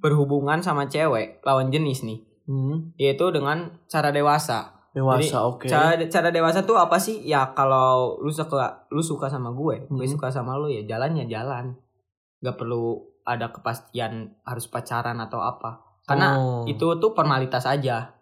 [SPEAKER 1] Berhubungan sama cewek lawan jenis nih. Yaitu dengan cara dewasa.
[SPEAKER 2] Hmm. dewasa oke
[SPEAKER 1] Cara cara dewasa tuh apa sih? Ya kalau lu suka lu suka sama gue, gue
[SPEAKER 2] Hmm.
[SPEAKER 1] suka sama lu ya jalan ya jalan. Gak perlu ada kepastian harus pacaran atau apa. Karena
[SPEAKER 2] Oh.
[SPEAKER 1] itu tuh formalitas aja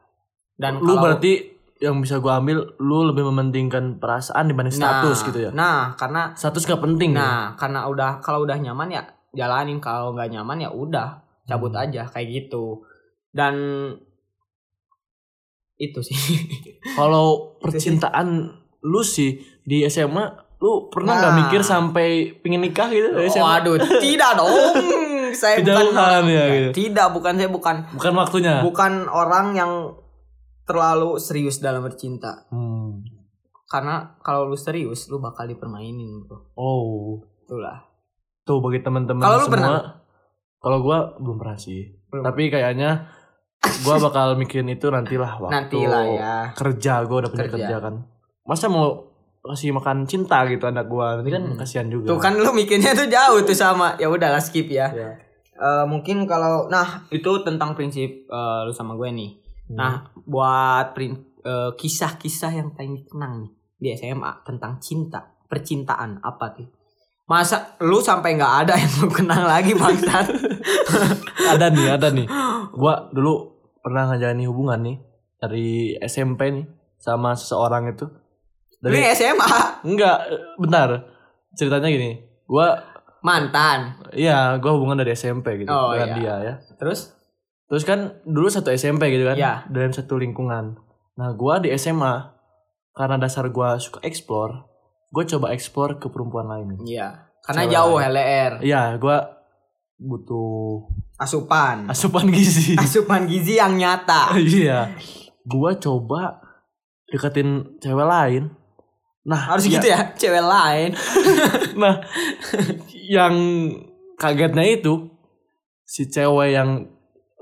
[SPEAKER 1] dan
[SPEAKER 2] lu
[SPEAKER 1] kalau-
[SPEAKER 2] berarti yang bisa gua ambil lu lebih mementingkan perasaan dibanding status
[SPEAKER 1] Nah,
[SPEAKER 2] gitu ya
[SPEAKER 1] nah karena
[SPEAKER 2] status gak penting ya?
[SPEAKER 1] nah karena udah kalau udah nyaman ya jalanin kalau nggak nyaman ya udah cabut
[SPEAKER 2] Hmm.
[SPEAKER 1] aja kayak gitu dan itu sih
[SPEAKER 2] kalau percintaan lu sih di SMA lu pernah nggak
[SPEAKER 1] Nah.
[SPEAKER 2] mikir sampai pingin nikah gitu dari SMA
[SPEAKER 1] waduh tidak dong saya
[SPEAKER 2] Tidak
[SPEAKER 1] bukan
[SPEAKER 2] bukan, ya, gitu.
[SPEAKER 1] tidak bukan saya bukan
[SPEAKER 2] bukan waktunya
[SPEAKER 1] bukan orang yang terlalu serius dalam bercinta
[SPEAKER 2] Hmm.
[SPEAKER 1] karena kalau lu serius lu bakal dipermainin bro
[SPEAKER 2] Oh,
[SPEAKER 1] itulah
[SPEAKER 2] tuh bagi teman-teman
[SPEAKER 1] Kalau lu
[SPEAKER 2] semua.
[SPEAKER 1] pernah?
[SPEAKER 2] Kalau gua belum pernah sih.
[SPEAKER 1] Belum.
[SPEAKER 2] Tapi kayaknya gua bakal mikirin itu nantilah waktu
[SPEAKER 1] nantilah ya
[SPEAKER 2] kerja gua udah punya
[SPEAKER 1] Kerja.
[SPEAKER 2] kerja. kan. Masa mau kasih makan cinta gitu anak gua. Nanti kan
[SPEAKER 1] Mm-mm.
[SPEAKER 2] kasihan juga.
[SPEAKER 1] Tuh kan lu mikirnya tuh jauh tuh sama. Ya udahlah skip ya.
[SPEAKER 2] Ya.
[SPEAKER 1] Eh, mungkin kalau nah itu tentang prinsip eh, lu sama gue nih.
[SPEAKER 2] Hmm.
[SPEAKER 1] Nah, buat prin- eh, kisah-kisah yang paling dikenang nih di SMA tentang cinta, percintaan apa tuh? Masa lu sampai nggak ada yang lu kenang lagi bangsat?
[SPEAKER 2] Nah, ada nih, ada nih. Gua dulu pernah ngajalani hubungan nih dari SMP nih sama seseorang itu.
[SPEAKER 1] lu
[SPEAKER 2] Dari
[SPEAKER 1] SMA
[SPEAKER 2] enggak, bentar. Ceritanya gini. Gua
[SPEAKER 1] mantan.
[SPEAKER 2] iya, gua hubungan dari SMP gitu
[SPEAKER 1] Oh,
[SPEAKER 2] dengan
[SPEAKER 1] iya.
[SPEAKER 2] dia ya.
[SPEAKER 1] Terus
[SPEAKER 2] Terus kan dulu satu SMP gitu kan,
[SPEAKER 1] Iya.
[SPEAKER 2] dalam satu lingkungan. Nah, gua di SMA karena dasar gua suka explore, gue coba explore ke perempuan lain.
[SPEAKER 1] iya, karena
[SPEAKER 2] Cewek
[SPEAKER 1] jauh
[SPEAKER 2] lain.
[SPEAKER 1] LDR,
[SPEAKER 2] Iya, gua butuh
[SPEAKER 1] asupan.
[SPEAKER 2] asupan gizi.
[SPEAKER 1] Asupan gizi yang nyata.
[SPEAKER 2] Iya. Gua coba deketin cewek lain. Nah,
[SPEAKER 1] Harus gitu ya, cewek lain.
[SPEAKER 2] Nah, yang kagetnya itu si cewek yang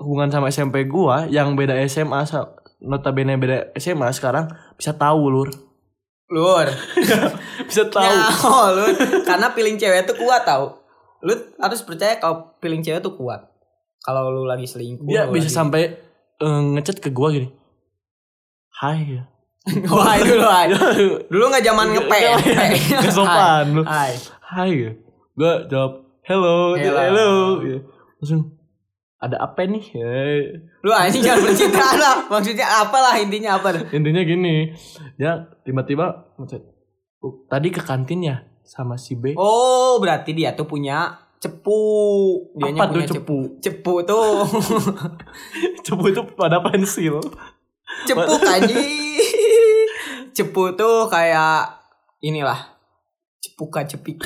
[SPEAKER 2] hubungan sama SMP gua yang beda SMA sa- notabene beda SMA sekarang bisa tahu lur.
[SPEAKER 1] Lur.
[SPEAKER 2] Bisa tahu.
[SPEAKER 1] Nyaho, lu. Nah, oh, Karena feeling cewek tuh kuat tau. Lu harus percaya kalau feeling cewek tuh kuat. Kalau lu lagi selingkuh.
[SPEAKER 2] Dia
[SPEAKER 1] lu
[SPEAKER 2] Ya, bisa
[SPEAKER 1] lagi-
[SPEAKER 2] sampai eh, ngechat ke gua gini. Hai. ya.
[SPEAKER 1] Wah, dulu ay. Dulu nggak zaman ngepe.
[SPEAKER 2] Iya, Kesopan lu.
[SPEAKER 1] Ay.
[SPEAKER 2] Hai. ya. Gua jawab hello,
[SPEAKER 1] Hello.
[SPEAKER 2] hello. Gitu. Langsung ada apa nih? Ya,
[SPEAKER 1] Lu anjing jangan percintaan lah. Maksudnya apalah intinya apa tuh?
[SPEAKER 2] intinya gini dia tiba-tiba ngechat, "Oh, tadi ke kantin ya sama si B
[SPEAKER 1] Oh, berarti dia tuh punya cepu. Dianya
[SPEAKER 2] apa tuh
[SPEAKER 1] punya
[SPEAKER 2] cepu
[SPEAKER 1] Cepu tuh.
[SPEAKER 2] cepu itu pada pensil
[SPEAKER 1] cepu kaji. cepu tuh kayak inilah. Cepuka cepiki.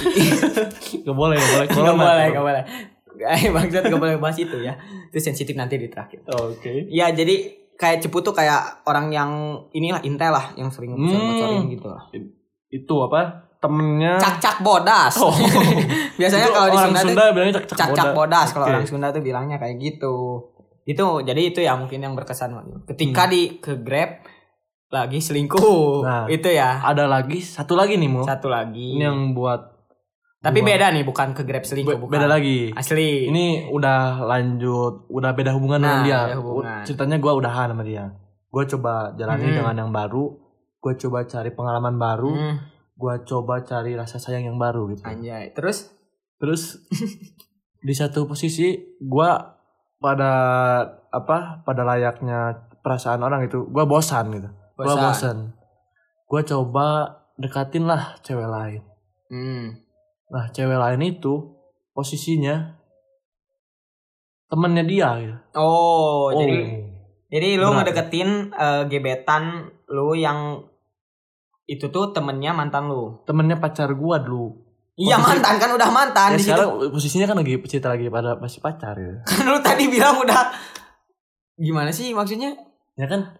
[SPEAKER 2] gak boleh gak boleh
[SPEAKER 1] Gak
[SPEAKER 2] corona.
[SPEAKER 1] boleh, gak boleh. Eh, Bangsat gak boleh bahas itu ya. Itu sensitif nanti di terakhir.
[SPEAKER 2] oke
[SPEAKER 1] Ya jadi kayak cepu tuh kayak orang yang inilah intel lah yang sering
[SPEAKER 2] Hmm.
[SPEAKER 1] bocorin gitu lah.
[SPEAKER 2] itu apa temennya
[SPEAKER 1] Cak-cak bodas.
[SPEAKER 2] Ah. Oh.
[SPEAKER 1] Biasanya
[SPEAKER 2] Itu
[SPEAKER 1] kalau di
[SPEAKER 2] orang
[SPEAKER 1] Sunda,
[SPEAKER 2] Sunda
[SPEAKER 1] tuh
[SPEAKER 2] bilangnya cak cak,
[SPEAKER 1] cak-cak bodas kalau
[SPEAKER 2] Oke.
[SPEAKER 1] orang Sunda tuh bilangnya kayak gitu. Itu jadi itu ya mungkin yang berkesan. Ketika di ke Grab lagi selingkuh.
[SPEAKER 2] Hmm. Nah.
[SPEAKER 1] Itu ya.
[SPEAKER 2] ada lagi satu lagi nih mo
[SPEAKER 1] Satu lagi.
[SPEAKER 2] ini yang buat
[SPEAKER 1] Tapi
[SPEAKER 2] buat-
[SPEAKER 1] beda nih bukan ke Grab selingkuh
[SPEAKER 2] be-
[SPEAKER 1] bukan.
[SPEAKER 2] beda lagi
[SPEAKER 1] Asli.
[SPEAKER 2] ini udah lanjut udah beda hubungan
[SPEAKER 1] Iya. Nah,
[SPEAKER 2] dengan dia
[SPEAKER 1] beda hubungan.
[SPEAKER 2] ceritanya gue udahan sama dia gue coba jalani
[SPEAKER 1] Hmm.
[SPEAKER 2] dengan yang baru gue coba cari pengalaman baru
[SPEAKER 1] Hmm,
[SPEAKER 2] gua coba cari rasa sayang yang baru gitu.
[SPEAKER 1] anjay. Terus
[SPEAKER 2] terus di satu posisi gua pada apa pada layaknya perasaan orang itu gua bosan gitu gua
[SPEAKER 1] Bosan.
[SPEAKER 2] bosan gua coba dekatin lah cewek lain
[SPEAKER 1] Hmm.
[SPEAKER 2] nah cewek lain itu posisinya temennya dia gitu.
[SPEAKER 1] Oh, jadi jadi lu
[SPEAKER 2] Berat.
[SPEAKER 1] ngedeketin eh, gebetan lu yang itu tuh temennya mantan lu.
[SPEAKER 2] temennya pacar gua dulu
[SPEAKER 1] Iya
[SPEAKER 2] Posisi-
[SPEAKER 1] mantan kan udah mantan
[SPEAKER 2] ya
[SPEAKER 1] di situ.
[SPEAKER 2] sekarang posisinya kan lagi cerita lagi pada masih pacar gitu.
[SPEAKER 1] Kan lu tadi bilang udah gimana sih maksudnya?
[SPEAKER 2] ya kan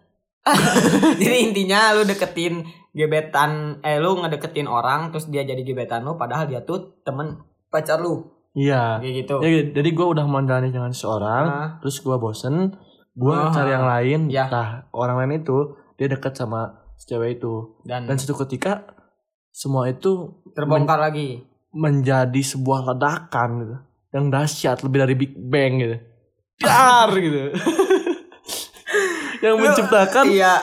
[SPEAKER 1] jadi intinya lu deketin gebetan eh lu ngedeketin orang terus dia jadi gebetan lu padahal dia tuh temen pacar lu.
[SPEAKER 2] iya
[SPEAKER 1] Kayak gitu.
[SPEAKER 2] Ya, kan? jadi gua udah menjalani dengan seorang
[SPEAKER 1] Nah,
[SPEAKER 2] terus gua bosen gua
[SPEAKER 1] Ah.
[SPEAKER 2] cari yang lain
[SPEAKER 1] Ya.
[SPEAKER 2] nah orang lain itu dia dekat sama si cewek itu
[SPEAKER 1] dan,
[SPEAKER 2] dan suatu ketika semua itu
[SPEAKER 1] terbongkar lagi.
[SPEAKER 2] menjadi sebuah ledakan gitu yang dahsyat lebih dari big bang gitu dar gitu yang
[SPEAKER 1] Lu-
[SPEAKER 2] menciptakan
[SPEAKER 1] Iya,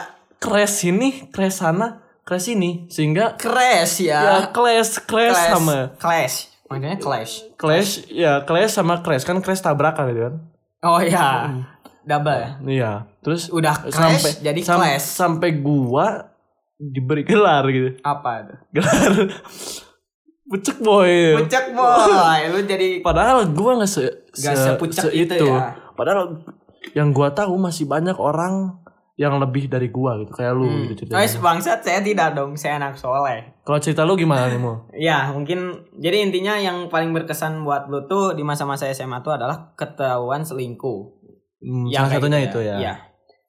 [SPEAKER 2] crash ini crash sana crash ini sehingga
[SPEAKER 1] crash ya.
[SPEAKER 2] ya clash clash
[SPEAKER 1] Clash.
[SPEAKER 2] sama
[SPEAKER 1] Clash. Makanya clash.
[SPEAKER 2] clash ya clash sama crash kan crash tabrakan gitu kan
[SPEAKER 1] Oh
[SPEAKER 2] Hmm.
[SPEAKER 1] iya, double.
[SPEAKER 2] iya terus
[SPEAKER 1] Udah crash
[SPEAKER 2] sampai
[SPEAKER 1] jadi
[SPEAKER 2] sam-
[SPEAKER 1] clash.
[SPEAKER 2] sampai gua diberi gelar gitu
[SPEAKER 1] Apa itu?
[SPEAKER 2] gelar pucuk boy
[SPEAKER 1] Pucek boy, lu jadi
[SPEAKER 2] padahal gua nggak se,
[SPEAKER 1] Nggak sepucek itu ya.
[SPEAKER 2] padahal yang gua tahu masih banyak orang yang lebih dari gua gitu kayak lu
[SPEAKER 1] Hmm.
[SPEAKER 2] gitu ceritanya
[SPEAKER 1] Guys, bangsat saya tidak dong, saya anak soleh.
[SPEAKER 2] kalau cerita lu gimana nih mau
[SPEAKER 1] Ya, mungkin jadi intinya yang paling berkesan buat lu tuh di masa-masa SMA tuh adalah ketahuan selingkuh. Ya,
[SPEAKER 2] salah
[SPEAKER 1] kayak
[SPEAKER 2] satunya
[SPEAKER 1] gitu
[SPEAKER 2] itu ya,
[SPEAKER 1] Iya.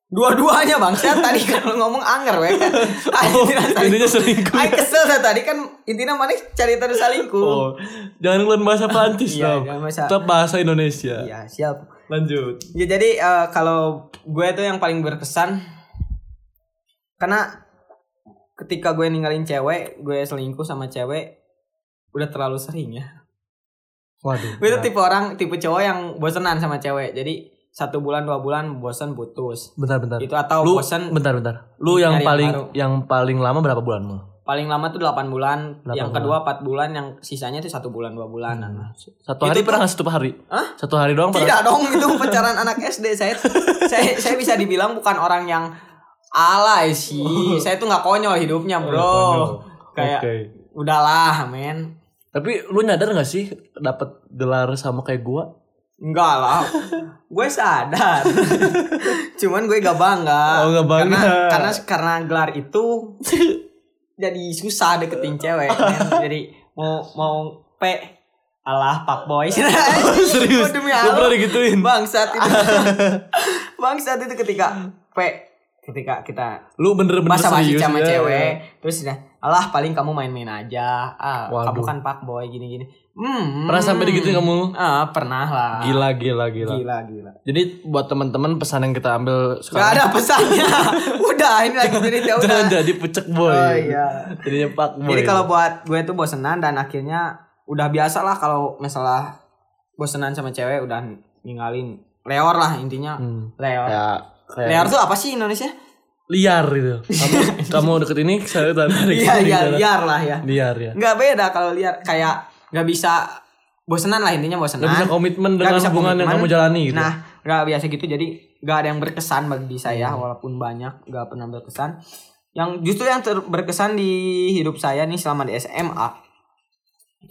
[SPEAKER 1] Dua-duanya bangsat tadi kan lu ngomong anger we kan.
[SPEAKER 2] oh
[SPEAKER 1] Intinya tadi-
[SPEAKER 2] intinya selingkuh
[SPEAKER 1] Ay, kesel saya tadi kan intinya mana cari terus selingkuh.
[SPEAKER 2] oh jangan keluar bahasa Prancis
[SPEAKER 1] Iya,
[SPEAKER 2] dong
[SPEAKER 1] jangan bahasa-
[SPEAKER 2] tetap bahasa Indonesia
[SPEAKER 1] Iya, siap.
[SPEAKER 2] lanjut
[SPEAKER 1] Ya jadi eh, kalau gue tuh yang paling berkesan karena ketika gue ninggalin cewek, gue selingkuh sama cewek udah terlalu sering ya.
[SPEAKER 2] waduh
[SPEAKER 1] Gue tuh tipe orang, tipe cowok yang bosenan sama cewek. Jadi satu bulan dua bulan bosen putus.
[SPEAKER 2] bentar bentar
[SPEAKER 1] Itu atau
[SPEAKER 2] Lu-
[SPEAKER 1] bosen
[SPEAKER 2] bentar bentar lu yang
[SPEAKER 1] Nyari yang
[SPEAKER 2] paling
[SPEAKER 1] baru.
[SPEAKER 2] yang paling lama berapa bulan Mo?
[SPEAKER 1] paling lama tuh 8 bulan,
[SPEAKER 2] Delapan
[SPEAKER 1] yang kedua 4 bulan, yang sisanya tuh satu bulan dua bulanan.
[SPEAKER 2] satu
[SPEAKER 1] Itu
[SPEAKER 2] hari
[SPEAKER 1] tuh-
[SPEAKER 2] pernah nggak satu hari
[SPEAKER 1] Hah?
[SPEAKER 2] satu hari doang pernah
[SPEAKER 1] Tidak dong, itu pacaran anak SD. Saya, saya saya bisa dibilang bukan orang yang alay sih. Saya tuh nggak konyol hidupnya,
[SPEAKER 2] Oh,
[SPEAKER 1] bro.
[SPEAKER 2] konyol.
[SPEAKER 1] Kayak
[SPEAKER 2] Oke.
[SPEAKER 1] udahlah, men.
[SPEAKER 2] tapi lu nyadar nggak sih dapat gelar sama kayak gua
[SPEAKER 1] Enggak lah. gue sadar. Cuman gue gak bangga.
[SPEAKER 2] Oh, nggak bangga.
[SPEAKER 1] Karena karena, karena gelar itu jadi susah deketin cewek. men. Jadi mau mau pe Alah, ya pak boy.
[SPEAKER 2] serius
[SPEAKER 1] Demi
[SPEAKER 2] lu
[SPEAKER 1] Allah.
[SPEAKER 2] pernah digituin
[SPEAKER 1] bangsat itu bangsat itu ketika p ketika kita
[SPEAKER 2] lu Hmm. bener-bener
[SPEAKER 1] masa masih
[SPEAKER 2] serius
[SPEAKER 1] sama
[SPEAKER 2] ya?
[SPEAKER 1] cewek terus udah alah paling kamu main-main aja ah kamu
[SPEAKER 2] Waduh.
[SPEAKER 1] kan pak boy gini-gini hmm,
[SPEAKER 2] pernah sampai digituin kamu
[SPEAKER 1] ah pernah lah
[SPEAKER 2] gila gila gila
[SPEAKER 1] gila gila
[SPEAKER 2] jadi buat teman-teman pesan yang kita
[SPEAKER 1] Gak
[SPEAKER 2] ambil sekarang
[SPEAKER 1] ada pesannya udah ini lagi cerita udah
[SPEAKER 2] jangan ya. jadi pucek boy
[SPEAKER 1] oh iya
[SPEAKER 2] jadinya pak boy
[SPEAKER 1] Jadi kalau buat gue tuh bosenan dan akhirnya udah biasa lah kalau masalah bosenan sama cewek udah ninggalin leor lah intinya
[SPEAKER 2] Hmm.
[SPEAKER 1] leor
[SPEAKER 2] Kayak- kayak
[SPEAKER 1] leor tuh apa sih Indonesia
[SPEAKER 2] liar gitu kamu kamu deket ini saya tarik
[SPEAKER 1] Iya
[SPEAKER 2] sini,
[SPEAKER 1] iya
[SPEAKER 2] tarik.
[SPEAKER 1] liar lah ya.
[SPEAKER 2] liar ya
[SPEAKER 1] Nggak beda kalau liar kayak nggak bisa bosenan lah intinya
[SPEAKER 2] Gak
[SPEAKER 1] bosenan.
[SPEAKER 2] bisa
[SPEAKER 1] Nah,
[SPEAKER 2] komitmen
[SPEAKER 1] Nggak
[SPEAKER 2] dengan
[SPEAKER 1] bisa
[SPEAKER 2] hubungan yang
[SPEAKER 1] komitmen.
[SPEAKER 2] kamu jalani gitu.
[SPEAKER 1] Nah nggak biasa gitu jadi nggak ada yang berkesan bagi saya walaupun banyak nggak pernah berkesan. Yang justru yang ter- berkesan di hidup saya nih selama di SMA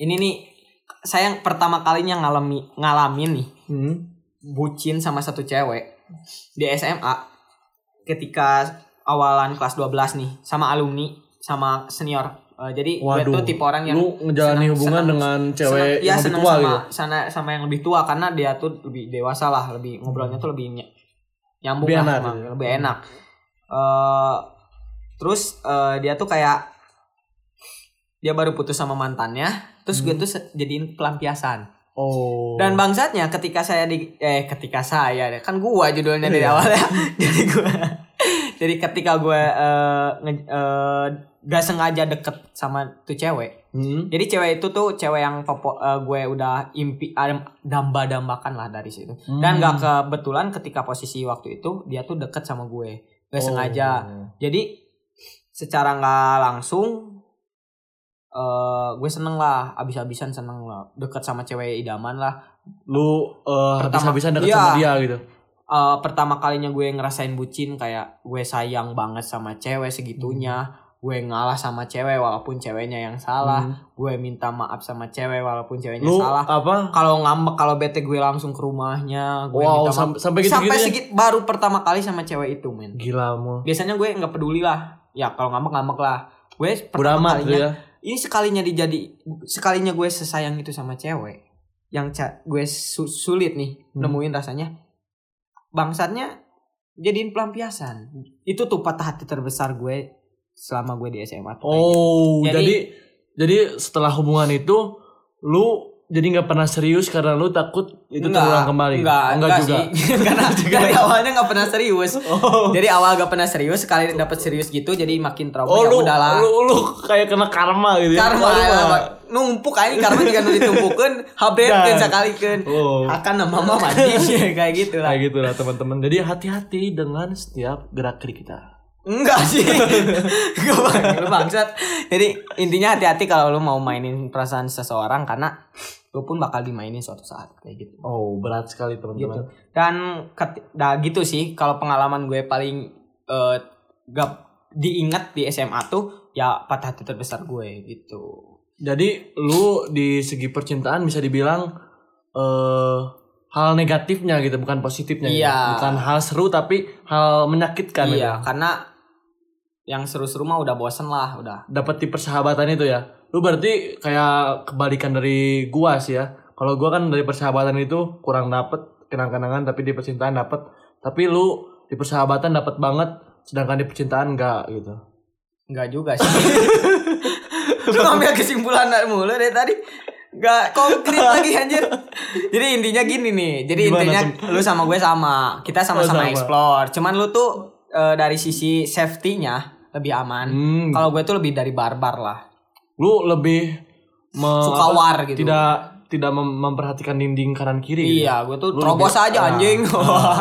[SPEAKER 1] ini nih saya yang pertama kalinya ngalami ngalamin nih
[SPEAKER 2] Hmm.
[SPEAKER 1] bucin sama satu cewek di SMA ketika awalan kelas 12 nih sama alumni sama senior. Eh, jadi gue tuh
[SPEAKER 2] Waduh.
[SPEAKER 1] tipe orang yang
[SPEAKER 2] lu ngejalani
[SPEAKER 1] senang-
[SPEAKER 2] hubungan
[SPEAKER 1] senang-
[SPEAKER 2] dengan cewek
[SPEAKER 1] senang- iya,
[SPEAKER 2] yang lebih
[SPEAKER 1] senang
[SPEAKER 2] tua
[SPEAKER 1] sama,
[SPEAKER 2] gitu.
[SPEAKER 1] sana- sama yang lebih tua karena dia tuh lebih dewasa lah, lebih ngobrolnya tuh lebih ny- nyambung
[SPEAKER 2] Lebih
[SPEAKER 1] lah
[SPEAKER 2] enak
[SPEAKER 1] sama-
[SPEAKER 2] gitu.
[SPEAKER 1] lebih enak. Eh, terus eh, dia tuh kayak dia baru putus sama mantannya,
[SPEAKER 2] Hmm.
[SPEAKER 1] terus gue tuh se- jadiin pelampiasan.
[SPEAKER 2] Oh.
[SPEAKER 1] Dan bangsatnya ketika saya di eh ketika saya deh, kan gua judulnya dari awal ya. Jadi gua jadi ketika gua eh, nge- eh, gak sengaja deket sama tuh cewek.
[SPEAKER 2] Hmm.
[SPEAKER 1] Jadi cewek itu tuh cewek yang popo, eh, gue udah impi ada- damba-dambakan lah dari situ. Dan gak kebetulan ketika posisi waktu itu dia tuh deket sama gue. Gak
[SPEAKER 2] Oh.
[SPEAKER 1] sengaja. Jadi secara nggak langsung eh eh, gue seneng lah abis-abisan seneng lah deket sama cewek idaman lah
[SPEAKER 2] lu eh,
[SPEAKER 1] Pertama-
[SPEAKER 2] habis-habisan deket
[SPEAKER 1] iya.
[SPEAKER 2] sama dia gitu
[SPEAKER 1] Eh, pertama kalinya gue ngerasain bucin kayak gue sayang banget sama cewek segitunya gue ngalah sama cewek walaupun ceweknya yang salah
[SPEAKER 2] Hmm.
[SPEAKER 1] gue minta maaf sama cewek walaupun ceweknya
[SPEAKER 2] lu
[SPEAKER 1] salah
[SPEAKER 2] apa
[SPEAKER 1] kalau ngambek kalau bete gue langsung ke rumahnya gue
[SPEAKER 2] wow
[SPEAKER 1] minta maaf.
[SPEAKER 2] sam- sampai gitu
[SPEAKER 1] sampai
[SPEAKER 2] gitu
[SPEAKER 1] segit baru pertama kali sama cewek itu men
[SPEAKER 2] gila mu
[SPEAKER 1] biasanya gue nggak peduli lah ya kalau ngambek ngambek lah gue pertama
[SPEAKER 2] beramat
[SPEAKER 1] kalinya
[SPEAKER 2] gitu ya
[SPEAKER 1] ini sekalinya dijadi sekalinya gue sesayang itu sama cewek yang ca- gue su- sulit nih
[SPEAKER 2] Hmm.
[SPEAKER 1] nemuin rasanya bangsatnya jadiin pelampiasan itu tuh patah hati terbesar gue selama gue di SMA tuh.
[SPEAKER 2] oh
[SPEAKER 1] Jadi-
[SPEAKER 2] jadi jadi, setelah hubungan itu lu jadi nggak pernah serius karena lu takut itu
[SPEAKER 1] Enggak,
[SPEAKER 2] terulang kembali
[SPEAKER 1] enggak,
[SPEAKER 2] Oh,
[SPEAKER 1] enggak,
[SPEAKER 2] juga
[SPEAKER 1] sih karena dari awalnya nggak pernah serius
[SPEAKER 2] oh,
[SPEAKER 1] dari awal gak pernah serius sekali dapet serius gitu jadi makin trauma
[SPEAKER 2] oh
[SPEAKER 1] ya
[SPEAKER 2] lu,
[SPEAKER 1] udahlah
[SPEAKER 2] lu lu kayak kena karma gitu ya.
[SPEAKER 1] karma
[SPEAKER 2] Karma.
[SPEAKER 1] ya, Pak. numpuk aja karma juga kan, nu ditumpukeun habretkeun
[SPEAKER 2] Dan.
[SPEAKER 1] sakalikeun
[SPEAKER 2] oh
[SPEAKER 1] kan. akan nama mama mandi kayak gitu lah
[SPEAKER 2] kayak gitu lah teman-teman jadi hati-hati dengan setiap gerak gerik kita
[SPEAKER 1] enggak sih gue bang, lu bangsat jadi intinya hati-hati kalau lu mau mainin perasaan seseorang karena lu pun bakal dimainin suatu saat kayak gitu
[SPEAKER 2] oh berat sekali
[SPEAKER 1] gitu
[SPEAKER 2] teman-teman
[SPEAKER 1] dan ket- dah gitu sih kalau pengalaman gue paling eh, gak diingat di SMA tuh ya patah hati terbesar gue gitu
[SPEAKER 2] jadi lu di segi percintaan bisa dibilang eh hal negatifnya gitu bukan positifnya gitu.
[SPEAKER 1] Iya.
[SPEAKER 2] bukan hal seru tapi hal menyakitkan
[SPEAKER 1] iya
[SPEAKER 2] gitu.
[SPEAKER 1] karena yang seru-seru mah udah bosen lah udah
[SPEAKER 2] dapat di persahabatan itu ya lu berarti kayak kebalikan dari gua sih ya kalau gua kan dari persahabatan itu kurang dapet kenang-kenangan tapi di percintaan dapet tapi lu di persahabatan dapet banget sedangkan di percintaan enggak gitu
[SPEAKER 1] nggak juga sih lu ngambil kesimpulan dari mulu dari tadi nggak konkret lagi anjir jadi intinya gini nih jadi
[SPEAKER 2] Gimana Oh,
[SPEAKER 1] intinya lu sama gue sama kita sama-sama
[SPEAKER 2] sama.
[SPEAKER 1] explore cuman lu tuh eh, dari sisi safety-nya lebih aman
[SPEAKER 2] Hmm,
[SPEAKER 1] kalau gue tuh lebih dari barbar lah
[SPEAKER 2] lu lebih me-
[SPEAKER 1] suka
[SPEAKER 2] apa,
[SPEAKER 1] war gitu
[SPEAKER 2] tidak tidak mem- memperhatikan dinding kanan kiri gitu.
[SPEAKER 1] Iya, gue tuh
[SPEAKER 2] Lu
[SPEAKER 1] terobos
[SPEAKER 2] lebih-
[SPEAKER 1] aja
[SPEAKER 2] Ah.
[SPEAKER 1] anjing.
[SPEAKER 2] Ah.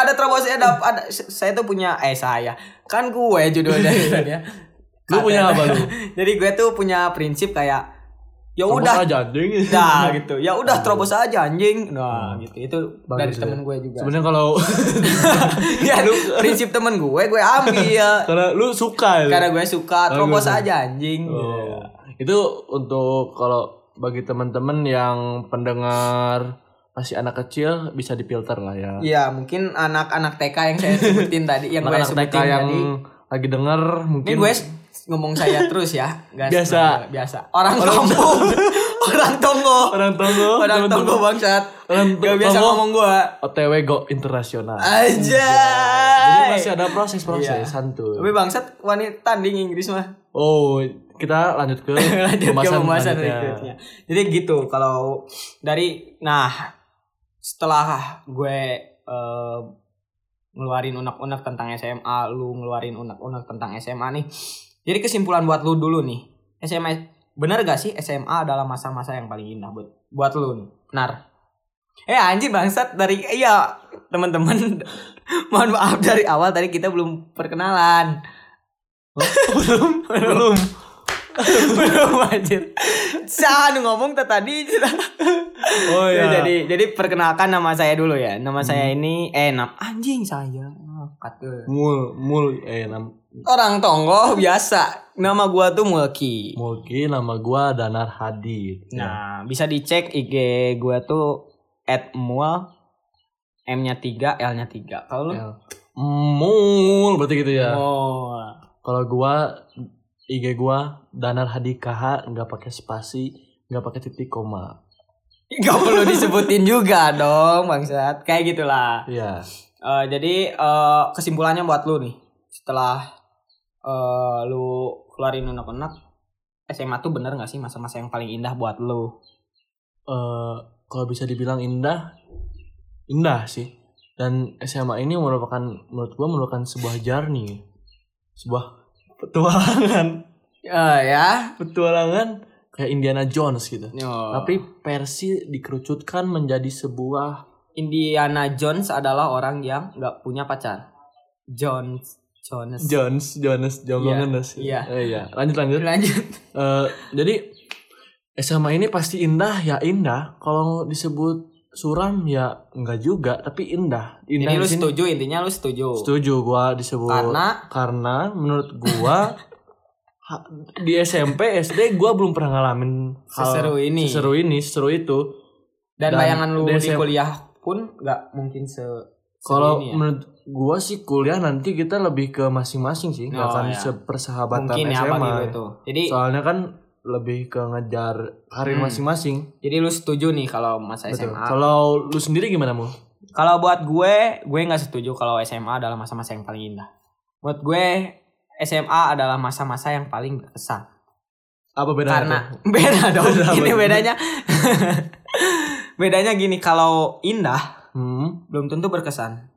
[SPEAKER 1] ada terobosnya ada, ada saya tuh punya eh saya. Kan gue judulnya kan ya.
[SPEAKER 2] Lu punya apa lu?
[SPEAKER 1] Jadi gue tuh punya prinsip kayak ya
[SPEAKER 2] Terobos
[SPEAKER 1] udah
[SPEAKER 2] aja anjing.
[SPEAKER 1] dah gitu. Ya udah terobos aja anjing. Nah, gitu. Itu dari
[SPEAKER 2] Bagus ya.
[SPEAKER 1] temen gue juga.
[SPEAKER 2] Sebenarnya kalau
[SPEAKER 1] Ya, prinsip temen gue gue ambil.
[SPEAKER 2] karena lu suka ya.
[SPEAKER 1] Karena gue suka terobos
[SPEAKER 2] Bagus.
[SPEAKER 1] aja anjing.
[SPEAKER 2] Oh. Itu untuk kalau bagi teman-teman yang pendengar masih anak kecil bisa dipilter lah ya.
[SPEAKER 1] Iya, mungkin anak-anak TK yang saya sebutin tadi, yang gue
[SPEAKER 2] Anak-anak
[SPEAKER 1] sebutin
[SPEAKER 2] TK yang
[SPEAKER 1] tadi.
[SPEAKER 2] lagi denger
[SPEAKER 1] Ini
[SPEAKER 2] mungkin
[SPEAKER 1] gue s- ngomong saya terus ya. Nggak
[SPEAKER 2] Biasa.
[SPEAKER 1] sengaja, biasa. Orang kampung. orang tonggo.
[SPEAKER 2] orang tonggo,
[SPEAKER 1] Orang tonggo bangsat.
[SPEAKER 2] orang
[SPEAKER 1] Gak biasa
[SPEAKER 2] tonggo
[SPEAKER 1] ngomong gua.
[SPEAKER 2] OTW go internasional.
[SPEAKER 1] Aja.
[SPEAKER 2] Jadi masih ada
[SPEAKER 1] Iya.
[SPEAKER 2] proses-proses santuy.
[SPEAKER 1] Tapi bangsat wanita tanding Inggris mah.
[SPEAKER 2] Oh, kita lanjut ke
[SPEAKER 1] Lanjut ke
[SPEAKER 2] pembahasan
[SPEAKER 1] pembahasan
[SPEAKER 2] selanjutnya.
[SPEAKER 1] berikutnya. Jadi gitu kalau dari nah setelah gue eh, ngeluarin unek-unek tentang SMA, lu ngeluarin unek-unek tentang SMA nih. Jadi kesimpulan buat lu dulu nih. SMA benar gak sih SMA adalah masa-masa yang paling indah buat buat lu nih? Benar. Eh anjir bangsat dari iya teman-teman mohon maaf dari awal tadi kita belum perkenalan. Oh, belum belum belum anjir. Sah nu ngomong teh tadi.
[SPEAKER 2] Oh
[SPEAKER 1] Ya,
[SPEAKER 2] iya.
[SPEAKER 1] Jadi jadi perkenalkan nama saya dulu ya. Nama saya ini eh nam anjing saya. Ah, kata.
[SPEAKER 2] mul mul eh nam
[SPEAKER 1] Orang tonggo biasa. Nama gua tuh Mulki.
[SPEAKER 2] Mulki nama gua Danar Hadi. gitu ya.
[SPEAKER 1] Nah, bisa dicek IG gua tuh @mual M-nya 3, L-nya 3. Kalau lu
[SPEAKER 2] Ya. Mul berarti gitu ya.
[SPEAKER 1] Oh.
[SPEAKER 2] Kalau gua IG gua Danar Hadi KH nggak pakai spasi, nggak pakai titik koma.
[SPEAKER 1] Gak perlu disebutin juga dong, bangsat. Kayak gitulah.
[SPEAKER 2] Iya.
[SPEAKER 1] Eh, jadi eh, kesimpulannya buat lu nih setelah eh, lu keluarin unek-unek SMA tuh bener gak sih masa-masa yang paling indah buat lu?
[SPEAKER 2] Eh, kalau bisa dibilang indah, indah sih. Dan SMA ini merupakan menurut gua merupakan sebuah journey, sebuah petualangan,
[SPEAKER 1] Eh ya.
[SPEAKER 2] petualangan kayak Indiana Jones gitu.
[SPEAKER 1] Tapi
[SPEAKER 2] Tapi Persi dikerucutkan menjadi sebuah
[SPEAKER 1] Indiana Jones adalah orang yang nggak punya pacar. Jones Jonas.
[SPEAKER 2] Jones, Jones, Jones.
[SPEAKER 1] Iya.
[SPEAKER 2] Eh, iya. Lanjut lanjut.
[SPEAKER 1] Lanjut.
[SPEAKER 2] Eh, jadi SMA ini pasti indah ya indah. Kalau disebut suram ya enggak juga, tapi indah. Indah
[SPEAKER 1] Jadi
[SPEAKER 2] di
[SPEAKER 1] lu
[SPEAKER 2] sini-
[SPEAKER 1] setuju intinya lu setuju.
[SPEAKER 2] Setuju gua disebut
[SPEAKER 1] Karena
[SPEAKER 2] karena menurut gua ha- di SMP SD gua belum pernah ngalamin
[SPEAKER 1] seseru ini.
[SPEAKER 2] seseru ini, seseru itu.
[SPEAKER 1] dan,
[SPEAKER 2] dan
[SPEAKER 1] bayangan lu di
[SPEAKER 2] DSM.
[SPEAKER 1] kuliah pun nggak mungkin se
[SPEAKER 2] Kalau
[SPEAKER 1] ini ya.
[SPEAKER 2] menurut gua sih kuliah nanti kita lebih ke masing-masing sih, nggak
[SPEAKER 1] Oh,
[SPEAKER 2] akan
[SPEAKER 1] ya.
[SPEAKER 2] sepersahabatan
[SPEAKER 1] mungkin ya
[SPEAKER 2] SMA.
[SPEAKER 1] bagi lu itu. Jadi
[SPEAKER 2] Soalnya kan lebih ke ngejar karir
[SPEAKER 1] Hmm.
[SPEAKER 2] masing-masing.
[SPEAKER 1] jadi lu setuju nih kalau masa
[SPEAKER 2] Betul.
[SPEAKER 1] SMA.
[SPEAKER 2] Kalau lu sendiri gimana mu?
[SPEAKER 1] Kalau buat gue, gue nggak setuju kalau SMA adalah masa-masa yang paling indah. Buat gue, SMA adalah masa-masa yang paling berkesan.
[SPEAKER 2] Apa bedanya?
[SPEAKER 1] Karena
[SPEAKER 2] tuh?
[SPEAKER 1] beda dong.
[SPEAKER 2] Beda,
[SPEAKER 1] Ini
[SPEAKER 2] beda.
[SPEAKER 1] bedanya. bedanya gini, kalau indah
[SPEAKER 2] Hmm.
[SPEAKER 1] belum tentu berkesan.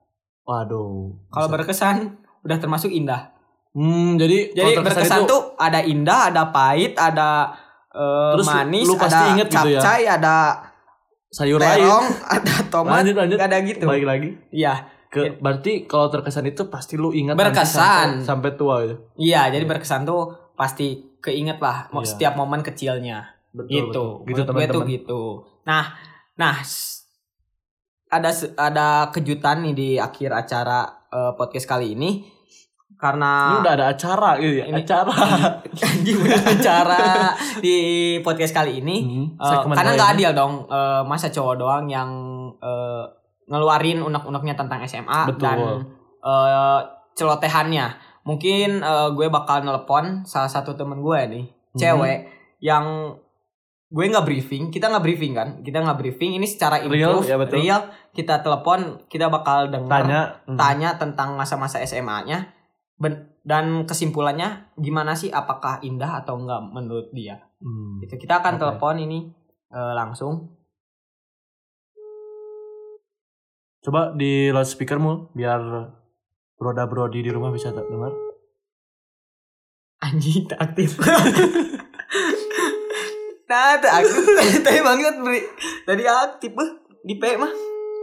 [SPEAKER 2] Waduh.
[SPEAKER 1] Kalau
[SPEAKER 2] Bisa.
[SPEAKER 1] berkesan udah termasuk indah.
[SPEAKER 2] Hmm, jadi
[SPEAKER 1] Jadi
[SPEAKER 2] kalau terkesan
[SPEAKER 1] berkesan tuh ada indah, ada pahit, ada eh,
[SPEAKER 2] Terus lu-
[SPEAKER 1] manis,
[SPEAKER 2] lu pasti
[SPEAKER 1] ada
[SPEAKER 2] inget gitu ya?
[SPEAKER 1] capcay, ada
[SPEAKER 2] sayur lain.
[SPEAKER 1] terong, ada tomat,
[SPEAKER 2] Lanjut lanjut.
[SPEAKER 1] ada gitu.
[SPEAKER 2] Balik lagi.
[SPEAKER 1] Iya.
[SPEAKER 2] Ke, berarti kalau terkesan itu pasti lu ingat
[SPEAKER 1] Berkesan.
[SPEAKER 2] nanti sampai, sampai tua gitu.
[SPEAKER 1] Iya, jadi berkesan tuh pasti keinget lah mo-
[SPEAKER 2] Iya.
[SPEAKER 1] setiap momen kecilnya
[SPEAKER 2] Betul,
[SPEAKER 1] gitu.
[SPEAKER 2] betul. Gitu
[SPEAKER 1] Menurut gue tuh
[SPEAKER 2] teman-teman.
[SPEAKER 1] gitu. Nah, nah s- ada se- ada kejutan nih di akhir acara eh, podcast kali ini
[SPEAKER 2] Ini
[SPEAKER 1] karena
[SPEAKER 2] udah ada acara gitu ya.
[SPEAKER 1] Ini-
[SPEAKER 2] Acara.
[SPEAKER 1] Anjing, udah acara di podcast kali ini
[SPEAKER 2] Hmm,
[SPEAKER 1] eh,
[SPEAKER 2] segmen
[SPEAKER 1] karena
[SPEAKER 2] lain.
[SPEAKER 1] nggak adil dong eh, masa cowok doang yang eh, ngeluarin unek-uneknya tentang SMA
[SPEAKER 2] Betul.
[SPEAKER 1] dan eh, celotehannya. Mungkin eh, gue bakal nelpon salah satu temen gue nih,
[SPEAKER 2] Mhm.
[SPEAKER 1] cewek yang gue nggak briefing, kita nggak briefing kan, kita nggak briefing. Ini secara
[SPEAKER 2] Real,
[SPEAKER 1] improve,
[SPEAKER 2] ya betul.
[SPEAKER 1] real. Kita telepon, kita bakal dengar,
[SPEAKER 2] Tanya. Hmm.
[SPEAKER 1] tanya tentang masa-masa SMA-nya dan kesimpulannya gimana sih apakah indah atau enggak menurut dia
[SPEAKER 2] Hmm.
[SPEAKER 1] gitu kita akan
[SPEAKER 2] Oke.
[SPEAKER 1] telepon ini eh, langsung
[SPEAKER 2] Coba di loudspeaker mul biar broda brodi di rumah bisa tak dengar.
[SPEAKER 1] anjing tak aktif nah tak aktif tadi banget beri tadi aktif eh. di P mah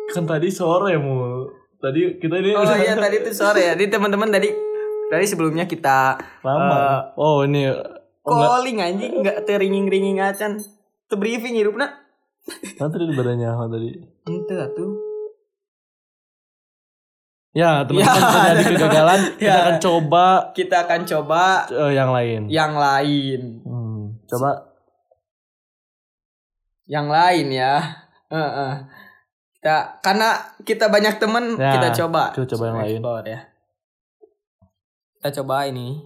[SPEAKER 2] Kan tadi sore mul. Tadi kita ini
[SPEAKER 1] oh
[SPEAKER 2] udah
[SPEAKER 1] iya tadi itu sore ya jadi teman-teman tadi dari sebelumnya kita Eh,
[SPEAKER 2] lama. oh ini oh, enggak.
[SPEAKER 1] calling anjing nggak teringing-ringing acan Teu briefing hidupnya
[SPEAKER 2] Kan tadi badannya apa tadi?
[SPEAKER 1] ente atuh
[SPEAKER 2] Ya, teman-teman
[SPEAKER 1] Ya,
[SPEAKER 2] terjadi
[SPEAKER 1] ada-
[SPEAKER 2] kegagalan, kita
[SPEAKER 1] Ya.
[SPEAKER 2] akan coba
[SPEAKER 1] kita akan coba
[SPEAKER 2] eh, yang lain.
[SPEAKER 1] yang lain
[SPEAKER 2] Hmm, coba
[SPEAKER 1] yang lain ya Heeh. kita karena kita banyak temen
[SPEAKER 2] Ya,
[SPEAKER 1] kita coba
[SPEAKER 2] kita coba yang lain.
[SPEAKER 1] Explore ya kita coba ini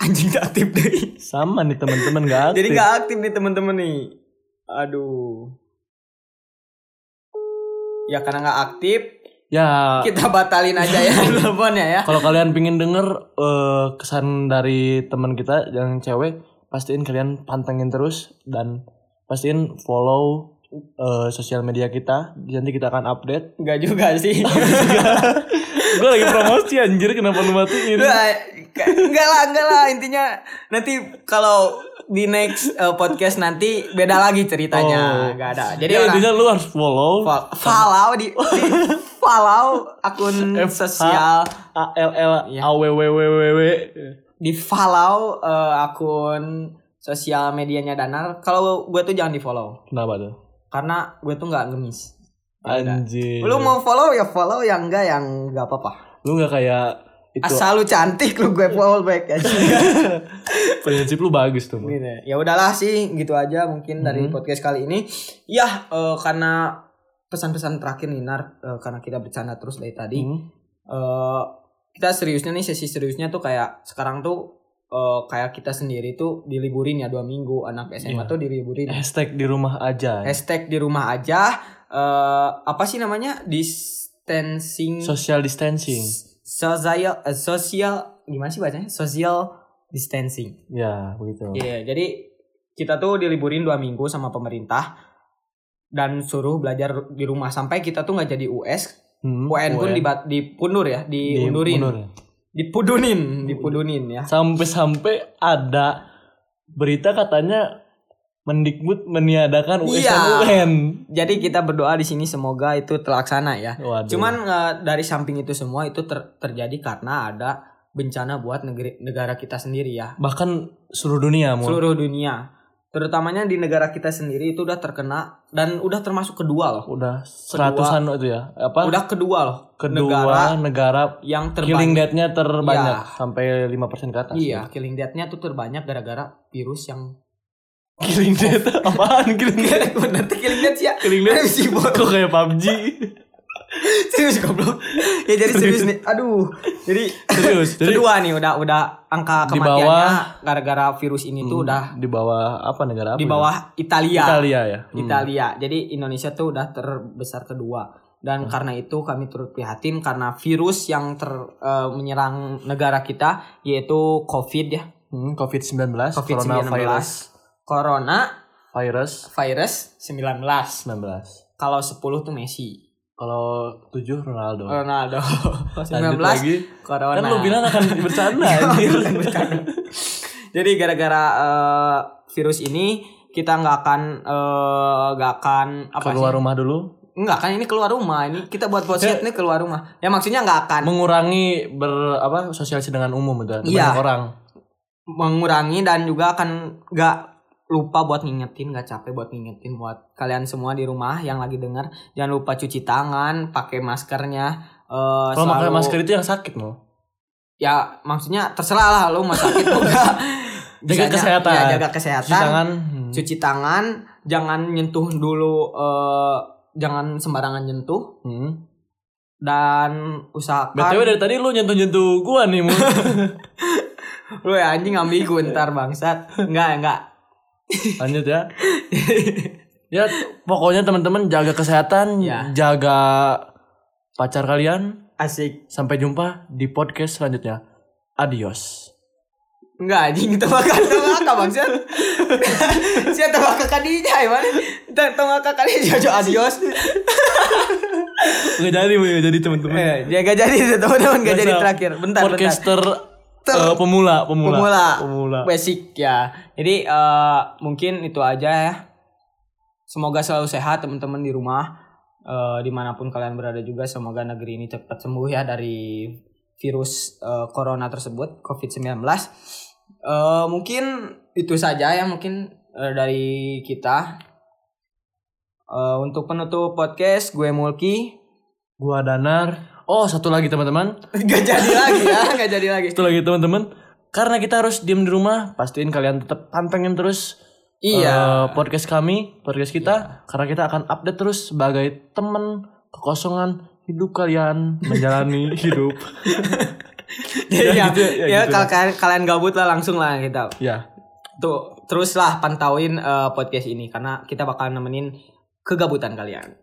[SPEAKER 1] anjing gak aktif deh
[SPEAKER 2] sama nih teman-teman nggak aktif.
[SPEAKER 1] jadi gak aktif nih temen-temen nih aduh ya karena nggak aktif
[SPEAKER 2] Ya,
[SPEAKER 1] kita batalin aja ya teleponnya ya
[SPEAKER 2] kalau kalian pingin denger eh, kesan dari teman kita yang cewek, pastiin kalian pantengin terus dan pastiin follow eh, sosial media kita. Nanti kita akan update.
[SPEAKER 1] nggak juga sih
[SPEAKER 2] Gue lagi promosi anjir, kenapa lu matiin?
[SPEAKER 1] Lu, eh, ka- enggak lah, enggak lah. Intinya nanti kalau di next eh, podcast nanti beda lagi ceritanya.
[SPEAKER 2] Oh.
[SPEAKER 1] Enggak ada. Jadi
[SPEAKER 2] Jadi ya,
[SPEAKER 1] orang
[SPEAKER 2] intinya lu harus follow
[SPEAKER 1] fo- follow di, di follow akun
[SPEAKER 2] F-
[SPEAKER 1] sosial
[SPEAKER 2] A L L
[SPEAKER 1] Iya.
[SPEAKER 2] A W W W W W.
[SPEAKER 1] di follow eh, akun sosial medianya Danar. Kalau gue tuh jangan di follow
[SPEAKER 2] Kenapa tuh?
[SPEAKER 1] karena gue tuh nggak ngemis. Beda.
[SPEAKER 2] Anjir.
[SPEAKER 1] Lu mau follow ya follow yang enggak yang enggak apa-apa.
[SPEAKER 2] lu nggak kayak itu
[SPEAKER 1] Asal lu cantik lu gue follow back aja.
[SPEAKER 2] prinsip lu bagus tuh. Mun.
[SPEAKER 1] Gini, ya udahlah sih gitu aja mungkin dari
[SPEAKER 2] Mhm.
[SPEAKER 1] podcast kali ini ya eh, karena pesan-pesan terakhir nih Nar eh, karena kita bercanda terus dari tadi
[SPEAKER 2] Hmm.
[SPEAKER 1] Eh, kita seriusnya nih sesi seriusnya tuh kayak sekarang tuh eh, kayak kita sendiri tuh diliburin ya dua minggu anak SMA
[SPEAKER 2] Iya.
[SPEAKER 1] tuh diliburin
[SPEAKER 2] Hashtag di rumah aja.
[SPEAKER 1] hashtag di rumah aja eh, apa sih namanya distancing
[SPEAKER 2] Social distancing.
[SPEAKER 1] social eh, social gimana sih bacanya social distancing
[SPEAKER 2] Ya begitu.
[SPEAKER 1] Iya, jadi kita tuh diliburin dua minggu sama pemerintah dan suruh belajar di rumah sampai kita tuh nggak jadi US,
[SPEAKER 2] Hmm, Iya,
[SPEAKER 1] UN pun
[SPEAKER 2] UN.
[SPEAKER 1] dibat- dipundur ya,
[SPEAKER 2] Diundur.
[SPEAKER 1] diundurin, dipudunin, dipudunin ya.
[SPEAKER 2] Sampai-sampai ada berita katanya Mendikbud meniadakan US
[SPEAKER 1] Iya.
[SPEAKER 2] dan UN.
[SPEAKER 1] Jadi kita berdoa di sini semoga itu terlaksana ya.
[SPEAKER 2] Waduh.
[SPEAKER 1] Cuman eh, dari samping itu semua itu ter- terjadi karena ada bencana buat negeri negara kita sendiri ya.
[SPEAKER 2] bahkan seluruh dunia mau.
[SPEAKER 1] Seluruh dunia. Terutamanya di negara kita sendiri itu udah terkena dan udah termasuk kedua loh.
[SPEAKER 2] udah seratusan itu ya. Apa?
[SPEAKER 1] Udah kedua loh
[SPEAKER 2] kedua negara,
[SPEAKER 1] yang terbanyak.
[SPEAKER 2] killing death-nya terbanyak
[SPEAKER 1] Iya.
[SPEAKER 2] sampai 5% ke atas.
[SPEAKER 1] Iya, killing death-nya tuh terbanyak gara-gara virus yang
[SPEAKER 2] Killing death apaan killing death?
[SPEAKER 1] bener tuh killing death ya.
[SPEAKER 2] Killing death
[SPEAKER 1] Serius, Bo.
[SPEAKER 2] kok kayak PUBG.
[SPEAKER 1] Serius goblok. Ya jadi serius nih. Aduh. Jadi
[SPEAKER 2] Serius. Jadi
[SPEAKER 1] kedua nih udah udah angka
[SPEAKER 2] Di
[SPEAKER 1] kematiannya gara-gara virus ini tuh udah
[SPEAKER 2] Hmm, di bawah apa negara apa?
[SPEAKER 1] di
[SPEAKER 2] ya?
[SPEAKER 1] bawah Italia.
[SPEAKER 2] Italia ya. Hmm.
[SPEAKER 1] Italia. Jadi Indonesia tuh udah terbesar kedua. Dan
[SPEAKER 2] Hmm.
[SPEAKER 1] karena itu kami turut prihatin karena virus yang ter eh, menyerang negara kita yaitu COVID ya,
[SPEAKER 2] Hmm, COVID-19,
[SPEAKER 1] COVID-19.
[SPEAKER 2] coronavirus,
[SPEAKER 1] Corona
[SPEAKER 2] virus
[SPEAKER 1] virus 19.
[SPEAKER 2] 19.
[SPEAKER 1] Kalau 10 tuh Messi,
[SPEAKER 2] Kalau 7 Ronaldo.
[SPEAKER 1] Eh, Ronaldo.
[SPEAKER 2] Lanjut
[SPEAKER 1] 19
[SPEAKER 2] lagi.
[SPEAKER 1] Corona.
[SPEAKER 2] Kan lu bilang akan bercanda
[SPEAKER 1] Iya,
[SPEAKER 2] anjir.
[SPEAKER 1] bener, bercanda. Jadi gara-gara eh, virus ini kita nggak akan eh, nggak akan apa
[SPEAKER 2] Keluar
[SPEAKER 1] sih?
[SPEAKER 2] rumah dulu.
[SPEAKER 1] Nggak kan ini keluar rumah ini kita buat podcast ini keluar rumah. Ya maksudnya nggak akan
[SPEAKER 2] mengurangi ber apa sosialisasi dengan umum udah
[SPEAKER 1] Iya.
[SPEAKER 2] banyak orang
[SPEAKER 1] mengurangi dan juga akan nggak lupa buat ngingetin nggak capek buat ngingetin buat kalian semua di rumah yang lagi dengar jangan lupa cuci tangan pakai maskernya eh
[SPEAKER 2] kalau pakai
[SPEAKER 1] selalu-
[SPEAKER 2] masker itu yang sakit loh
[SPEAKER 1] ya maksudnya terserah lah lu mau sakit mau nggak. Bisanya-
[SPEAKER 2] Jaga kesehatan.
[SPEAKER 1] ya, jaga
[SPEAKER 2] cuci
[SPEAKER 1] kesehatan
[SPEAKER 2] tangan hmm.
[SPEAKER 1] cuci tangan jangan nyentuh dulu eh, jangan sembarangan nyentuh
[SPEAKER 2] Hmm.
[SPEAKER 1] dan usahakan
[SPEAKER 2] btw dari tadi lu nyentuh nyentuh gua nih mu
[SPEAKER 1] lu ya anjing ambigu ntar bangsat enggak enggak
[SPEAKER 2] lanjut ya ya pokoknya teman-teman jaga kesehatan
[SPEAKER 1] Ya.
[SPEAKER 2] jaga pacar kalian
[SPEAKER 1] asik
[SPEAKER 2] sampai jumpa di podcast selanjutnya adios
[SPEAKER 1] enggak anjing tebakan tebakan bangsat saya tebakan kadinya emang tebakan kadinya jojo adios
[SPEAKER 2] nggak jadi Bu, nggak jadi teman-teman
[SPEAKER 1] eh dia gak jadi teman-teman gak jadi
[SPEAKER 2] Masa
[SPEAKER 1] terakhir bentar bentar
[SPEAKER 2] podcaster
[SPEAKER 1] Ter-
[SPEAKER 2] eh, pemula pemula
[SPEAKER 1] Pemula.
[SPEAKER 2] pemula
[SPEAKER 1] basic ya. Jadi eh, mungkin itu aja ya. Semoga selalu sehat teman-teman di rumah Eh, dimanapun kalian berada juga. Semoga negeri ini cepat sembuh ya dari virus eh, corona tersebut COVID-19. Eh, mungkin itu saja ya mungkin eh, dari kita. Eh, untuk penutup podcast gue Mulki.
[SPEAKER 2] gua danar oh satu lagi teman-teman
[SPEAKER 1] Gak jadi lagi ya, gak jadi lagi.
[SPEAKER 2] Itu lagi teman-teman. Karena kita harus diem di rumah, pastiin kalian tetap pantengin terus
[SPEAKER 1] Iya.
[SPEAKER 2] eh, podcast kami, podcast kita. Karena kita akan update terus sebagai teman kekosongan hidup kalian menjalani hidup.
[SPEAKER 1] ya,
[SPEAKER 2] ya gitu, ya
[SPEAKER 1] ya,
[SPEAKER 2] gitu
[SPEAKER 1] kalau kalian, kalian gabut lah langsung lah kita
[SPEAKER 2] ya,
[SPEAKER 1] tuh teruslah pantauin eh, podcast ini karena kita bakal nemenin kegabutan kalian.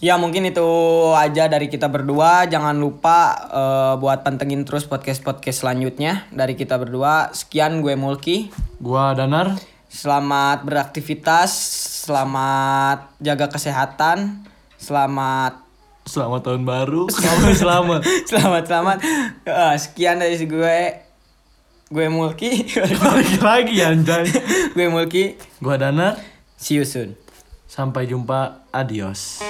[SPEAKER 1] Ya mungkin itu aja dari kita berdua. Jangan lupa eh, buat pantengin terus podcast-podcast selanjutnya dari kita berdua. Sekian gue Mulki.
[SPEAKER 2] gua Danar.
[SPEAKER 1] Selamat beraktivitas, selamat jaga kesehatan, selamat
[SPEAKER 2] Selamat tahun baru. Selamat selamat.
[SPEAKER 1] selamat selamat. Eh, sekian dari gue gue Mulki.
[SPEAKER 2] Balik lagi anjay.
[SPEAKER 1] gue Mulki.
[SPEAKER 2] Gua Danar.
[SPEAKER 1] See you soon.
[SPEAKER 2] Sampai jumpa. Adios.